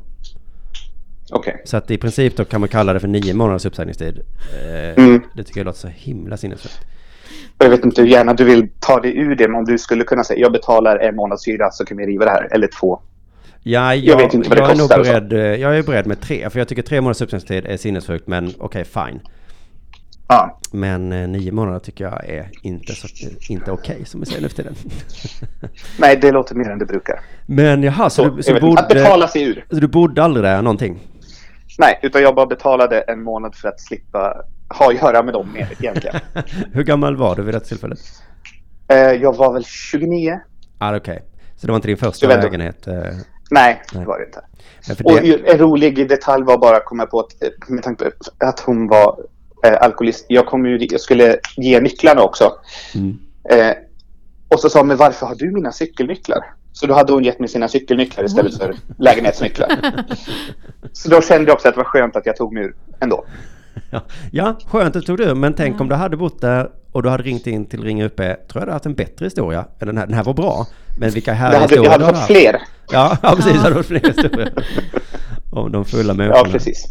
S6: Okej.
S1: Så att i princip då kan man kalla det för nio månaders uppsägningstid. Eh,
S6: Mm.
S1: Det tycker jag låter så himla sinnessjukt.
S6: Och Jag vet inte hur gärna du vill ta dig ur det, men om du skulle kunna säga jag betalar en månads hyra så kan vi riva det här, eller två.
S1: Ja, jag,
S6: Jag vet inte vad det
S1: jag är nog
S6: kostar och så.
S1: beredd, eh, jag är beredd med tre, för jag tycker tre månaders uppsägningstid är sinnessjukt, men okej, fine.
S6: Ja.
S1: Men eh, nio månader tycker jag är inte, så- inte okej, som vi säger nu för tiden.
S6: Nej, det låter mer än det brukar.
S1: Men jaha, så,
S6: Så,
S1: du,
S6: jag
S1: så,
S6: vet inte. Att
S1: bodde,
S6: betala sig ur.
S1: så du bodde aldrig där någonting?
S6: Nej, utan jag bara betalade en månad för att slippa ha att göra med dem mer egentligen.
S1: Hur gammal var du vid det tillfället?
S6: Eh, jag var väl 29?
S1: Ah, okej. Så det var inte din första
S6: Jag vet inte.
S1: lägenhet? eh,
S6: Nej,
S1: Nej.
S6: det var det inte.
S1: men för
S6: Och
S1: det,
S6: ju- en rolig detalj var bara att komma på att, eh, med tanke på att hon var eh, alkoholist. Jag, kom ju, jag skulle ge nycklarna också.
S1: Mm.
S6: Eh, och så sa hon, men varför har du mina cykelnycklar? Så då hade hon gett mig sina cykelnycklar istället för lägenhetsnycklar. så då kände jag också att det var skönt att jag tog mig ur ändå.
S1: ja. ja, skönt att du tog det ur, men tänk om du hade bott där och du hade ringt in till Ring UP, tror jag du hade haft en bättre historia. än Den här, den här var bra, men vilka
S6: Jag
S1: härliga
S6: hade,
S1: historier
S6: jag hade
S1: du
S6: fått
S1: haft.
S6: fler.
S1: Ja, ja precis.
S2: Ja.
S1: Hade varit fler historier. Om de fulla människorna.
S6: Ja, precis.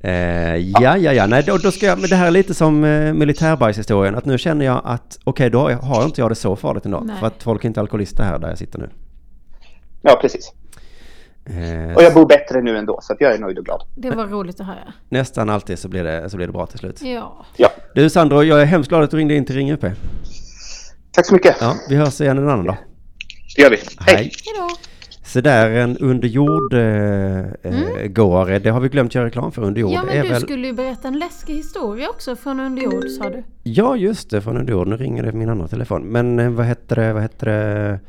S1: Eh, ja, ja, ja. Nej, då, då ska jag, men det här är lite som eh, militärbajshistorien. Att nu känner jag att okej, då har, jag, har inte jag det så farligt ändå.
S2: Nej.
S1: För att folk är inte alkoholister här där jag sitter nu.
S6: Ja, precis.
S1: Eh,
S6: Och jag bor bättre nu ändå, så att jag är nöjd och glad.
S2: Det var roligt att höra.
S1: Nästan alltid så blir, det, så blir det bra till slut.
S2: Ja.
S6: Ja,
S1: Du Sandro, jag är hemskt glad att du ringde in till Ring UP.
S6: tack så mycket.
S1: Ja, vi hörs igen en annan dag.
S6: Det gör vi. Hej.
S2: Hejdå.
S1: Så där en under jord eh, eh, går. Det har vi glömt göra reklam för. Under jord
S2: Mm. Ja
S1: är
S2: men du
S1: väl...
S2: skulle ju berätta en läskig historia också från under jord sa du.
S1: Ja, just det. Från under jord. Nu ringer det min andra telefon. Men eh, vad heter det? Vad heter det?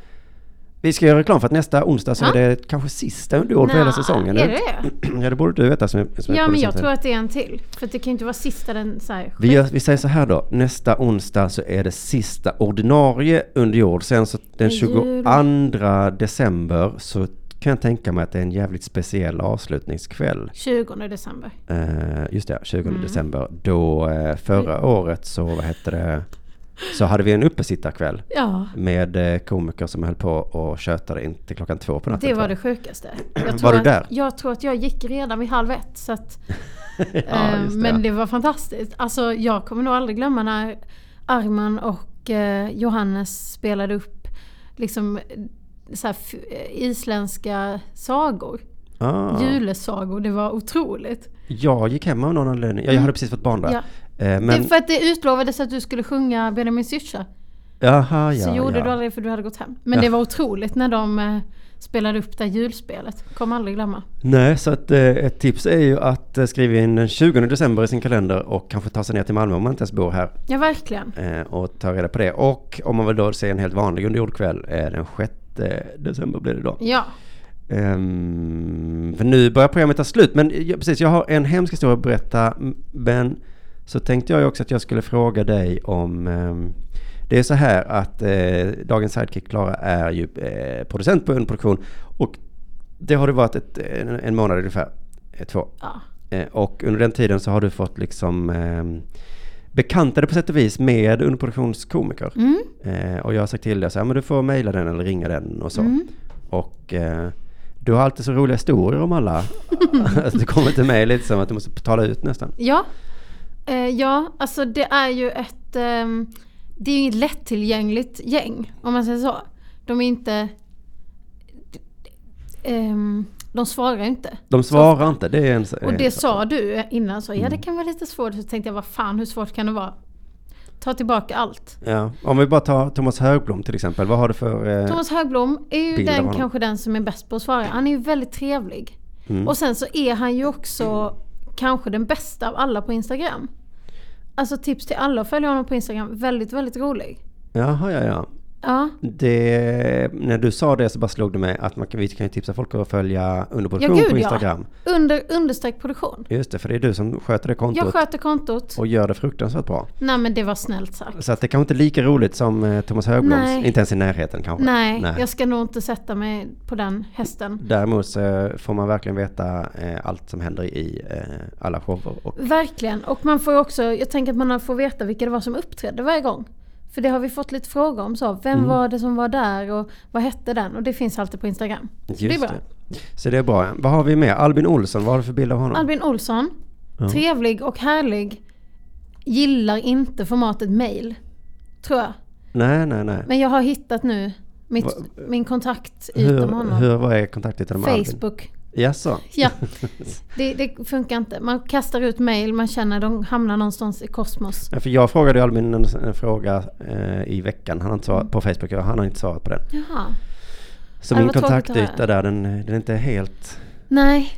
S1: Vi ska göra reklam för att nästa onsdag så
S2: Ja.
S1: är det kanske sista under jord för hela
S2: Nja,
S1: säsongen.
S2: Är
S1: nu.
S2: det
S1: Ja, det borde du veta som är, som är
S2: Ja men jag
S1: producent här.
S2: tror att det är en till. För det kan ju inte vara sista den så här.
S1: Vi, gör, vi säger så här då, nästa onsdag så är det sista ordinarie under jord. Sen så den
S2: Det är jul.
S1: 22 december så kan jag tänka mig att det är en jävligt speciell avslutningskväll.
S2: 20 december.
S1: Eh, just det, 20
S2: Mm.
S1: december. Då eh, förra året så, vad heter det, så hade vi en uppesittarkväll
S2: Ja.
S1: med eh, komiker som höll på och tjötade in till klockan två på natten.
S2: Det var
S1: tror
S2: det
S1: jag.
S2: sjukaste. Jag tror
S1: Var du
S2: att,
S1: där?
S2: Jag tror att jag gick redan vid halv ett. Så att,
S1: Ja,
S2: eh,
S1: just det.
S2: men det var fantastiskt. Alltså, jag kommer nog aldrig glömma när Arman och eh, Johannes spelade upp liksom, eh, så här, f- eh, isländska sagor.
S1: Ah.
S2: Julesagor. Det var otroligt.
S1: Jag gick hem av någon anledning. Jag, jag hade precis fått barn där.
S2: Mm. Ja.
S1: Eh,
S2: Det är
S1: men,
S2: för att det utlovades att du skulle sjunga Benjamin Syrsa.
S1: Jaha, ja,
S2: så gjorde
S1: ja.
S2: du aldrig för du hade gått hem. Men
S1: Ja.
S2: det var otroligt när de eh, spelade upp det här julspelet. Kommer aldrig glömma.
S1: Nej, så att, eh, ett tips är ju att eh, skriva in den 20 december i sin kalender och kanske ta sig ner till Malmö om man inte ens bor här
S2: Ja, verkligen.
S1: eh, och ta reda på det. Och om man vill då se en helt vanlig underjordkväll eh, den 6 december blir det då.
S2: Ja.
S1: Ehm, för nu börjar programmet ta slut. Men eh, ja, precis, jag har en hemsk historia att berätta. m- Men så tänkte jag ju också att jag skulle fråga dig om... ehm, det är så här att eh, dagens sidekick Klara är ju eh, producent på en produktion. Och det har det varit ett, en, en månad ungefär. eh, Två.
S2: ja.
S1: Eh, Och under den tiden så har du fått liksom eh, bekanta dig på sätt och vis med underproduktionskomiker.
S2: Mm.
S1: Eh, och jag har sagt till dig så här, men du får mejla den eller ringa den och så.
S2: Mm.
S1: Och eh, du har alltid så roliga historier om alla. alltså, det kommer till mig lite som att du måste betala ut nästan.
S2: Ja. Eh, ja, alltså det är ju ett... ehm, det är ju ett lättillgängligt gäng, om man säger så. De är inte... ehm, de svarar inte.
S1: De svarar inte, det är Mm. en...
S2: Och det sa du innan, så ja det kan vara lite svårt. Så tänkte jag, vad fan hur svårt kan det vara? Ta tillbaka allt.
S1: eh, Ja. Om vi bara tar Thomas Högblom till exempel, vad har du för... Eh,
S2: Thomas Högblom är ju
S1: Bild av
S2: den,
S1: honom.
S2: kanske den som är bäst på att svara. Han är ju väldigt trevlig.
S1: mm.
S2: Och sen så är han ju också kanske den bästa av alla på Instagram. Alltså tips till alla att följa honom på Instagram. Väldigt, väldigt rolig.
S1: Jaha, ja, ja.
S2: Ja,
S1: Det, när du sa det så bara slog det mig att man kan, vi kan ju tipsa folk att följa
S2: ja
S1: underproduktion på
S2: gud ja.
S1: Instagram.
S2: Under, understreck produktion.
S1: Just det, för det är du som sköter det kontot
S2: Jag sköter kontot.
S1: och gör det fruktansvärt bra.
S2: Nej men det var snällt sagt.
S1: Så att det kanske inte är lika roligt som eh, Thomas Högbloms,
S2: Nej.
S1: inte ens i närheten kanske.
S2: Nej, jag ska nog inte sätta mig på den hästen.
S1: Däremot så får man verkligen veta eh, allt som händer i eh, alla shower. Och,
S2: Verkligen. Och man får ju också, jag tänker att man får veta vilka det var som uppträdde varje gång. För det har vi fått lite frågor om. Så, vem var det som var där och vad hette den? Och det finns alltid på Instagram. Så det Mm. är bra.
S1: Så det är bra. Vad har vi mer? Albin Olsson, vad har du för bild av honom?
S2: Albin Olsson. Trevlig och härlig. Gillar inte formatet mail. Tror jag.
S1: Nej, nej, nej.
S2: Men jag har hittat nu mitt,
S1: Va-
S2: min kontakt med
S1: Hur,
S2: honom.
S1: hur, vad är kontaktytan med Albin?
S2: Facebook.
S1: Jaså?
S2: Ja, det, det funkar inte. Man kastar ut mail, man känner de hamnar någonstans i kosmos.
S1: Ja, För jag frågade ju Albin en, en fråga eh, i veckan han har inte svarat, på Facebook och han har inte svarat på den.
S2: Jaha.
S1: Så
S2: Ja,
S1: min
S2: vad tråkigt att
S1: kontaktyta
S2: höra.
S1: där den, den är inte helt...
S2: Nej.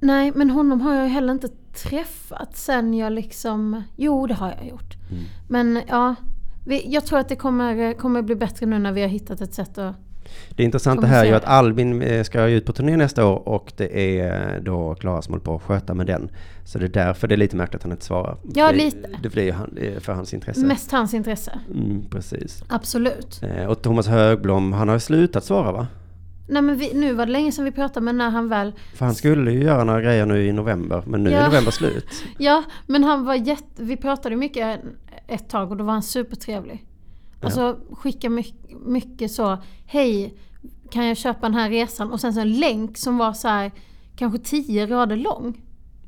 S2: Nej, men honom har jag ju heller inte träffat sen jag liksom... Jo, det har jag gjort.
S1: Mm.
S2: Men ja, vi, jag tror att det kommer, kommer bli bättre nu när vi har hittat ett sätt att...
S1: Det intressanta
S2: Kommer
S1: här är
S2: se
S1: ju att
S2: det.
S1: Albin eh, ska ju ut på turné nästa år och det är eh, då Klara som håller på att sköta med den. Så det är därför det är lite märkligt att han inte svarar.
S2: Ja,
S1: det,
S2: lite.
S1: Det blir ju han, det är för hans intresse.
S2: Mest hans intresse.
S1: Mm, precis.
S2: Absolut.
S1: Eh, Och Thomas Högblom, han har ju slutat svara va?
S2: Nej, men vi, nu var det länge sedan vi pratade, men när han väl...
S1: För han skulle ju göra några grejer nu i november, men nu är
S2: Ja.
S1: november slut.
S2: Ja, men han var jätte... Vi pratade mycket ett tag och då var han supertrevlig. Alltså skicka mycket, mycket så, hej, kan jag köpa den här resan? Och sen så en länk som var så här, kanske tio rader lång.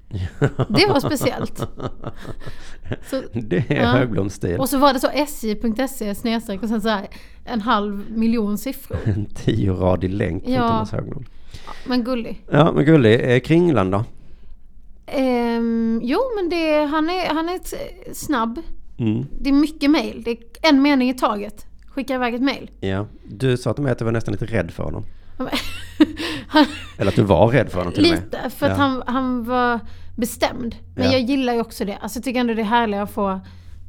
S2: Det var speciellt. Så,
S1: Det är
S2: Ja.
S1: Högbloms stil.
S2: och så var det så sj.se E snedstreck och sen så här en halv miljon siffror.
S1: En tioradig länk från
S2: Ja.
S1: Thomas Högblom.
S2: Men gullig.
S1: Ja, men gullig. Eh, Kringland då?
S2: Ehm, jo men det, han, är, han är t- snabb.
S1: Mm.
S2: Det är mycket mail. Det är en mening i taget. Skicka iväg ett mail.
S1: Ja. Du sa till mig att du var nästan lite rädd för honom.
S2: Han,
S1: Eller att du var rädd för honom till och med.
S2: Lite, för att
S1: Ja.
S2: han, han var bestämd. Men
S1: Ja.
S2: jag gillar ju också det. Alltså jag tycker ändå det är härligt att få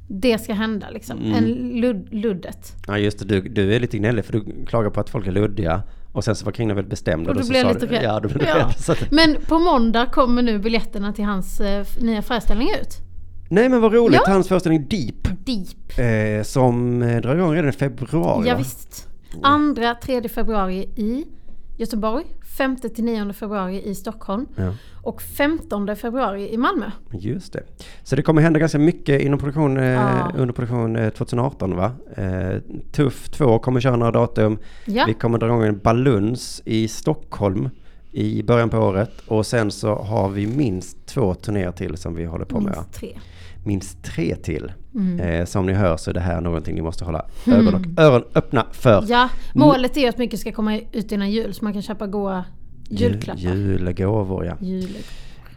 S2: det ska hända liksom.
S1: Mm.
S2: En lud, luddet.
S1: Ja just det, du, du är lite gnällig för du klagar på att folk är luddiga. Och sen så var Kringlan väldigt bestämd.
S2: Och
S1: då
S2: då
S1: så
S2: blir jag
S1: sa
S2: lite
S1: du-
S2: rädd.
S1: Ja, då blev du
S2: Ja.
S1: rädd. Så att,
S2: Men på måndag kommer nu biljetterna till hans eh, f- nya föreställning ut.
S1: nej men vad roligt,
S2: Ja.
S1: hans föreställning Deep.
S2: Deep.
S1: Eh, som eh, drar igång redan i februari.
S2: Ja,
S1: va?
S2: visst. Andra, tredje februari i Göteborg. Femte till nionde februari i Stockholm.
S1: Ja,
S2: Och 15 februari i Malmö.
S1: just det. Så det kommer hända ganska mycket inom produktion, eh,
S2: Ja.
S1: under produktion eh, 2018 va? Eh, Tuff 2 kommer köra några datum.
S2: Ja.
S1: Vi kommer dra igång en baluns i Stockholm i början på året. Och sen så har vi minst två turnéer till som vi håller på med. va?
S2: Minst tre.
S1: minst tre till.
S2: Mm.
S1: Eh, som ni hör så är det här någonting ni måste hålla ögon och öron öppna för.
S2: Ja, målet är ju att mycket ska komma ut innan jul så man kan köpa goa julklappar.
S1: Ju- Julgåvor ja.
S2: Julet.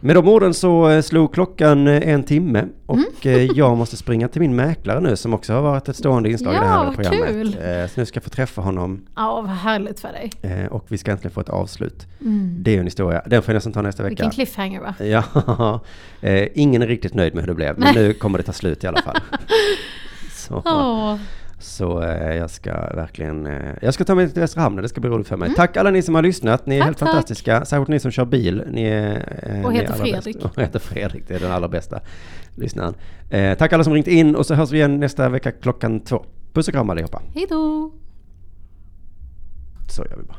S1: Med de orden så eh, slog klockan eh, en timme
S2: Mm.
S1: och eh, jag måste springa till min mäklare nu som också har varit ett stående inslag i det
S2: Ja,
S1: här
S2: vad
S1: programmet.
S2: kul.
S1: Eh, så nu ska jag få träffa honom
S2: Ja, vad härligt för dig.
S1: eh, och vi ska äntligen få ett avslut. Det är ju en historia, den får jag nästan ta nästa vecka.
S2: Mm. Vilken cliffhanger va?
S1: Ja, eh, ingen är riktigt nöjd med hur det blev, men nu kommer det ta slut i alla fall. Så,
S2: Åh,
S1: Så eh, jag ska verkligen, eh, jag ska ta mig till Västra Hamnen, det ska bli roligt för mig. Tack alla ni som har lyssnat, ni är
S2: Mm.
S1: helt
S2: Tack, tack.
S1: fantastiska. Särskilt ni som kör bil, ni är... eh,
S2: Och
S1: ni är
S2: heter
S1: allra
S2: Fredrik.
S1: Bäst. Och heter Fredrik, det är den allra bästa lyssnaren. Eh, tack alla som ringt in och så hörs vi igen nästa vecka klockan två. Puss och kram allihopa.
S2: hej då!
S1: Så gör vi bara.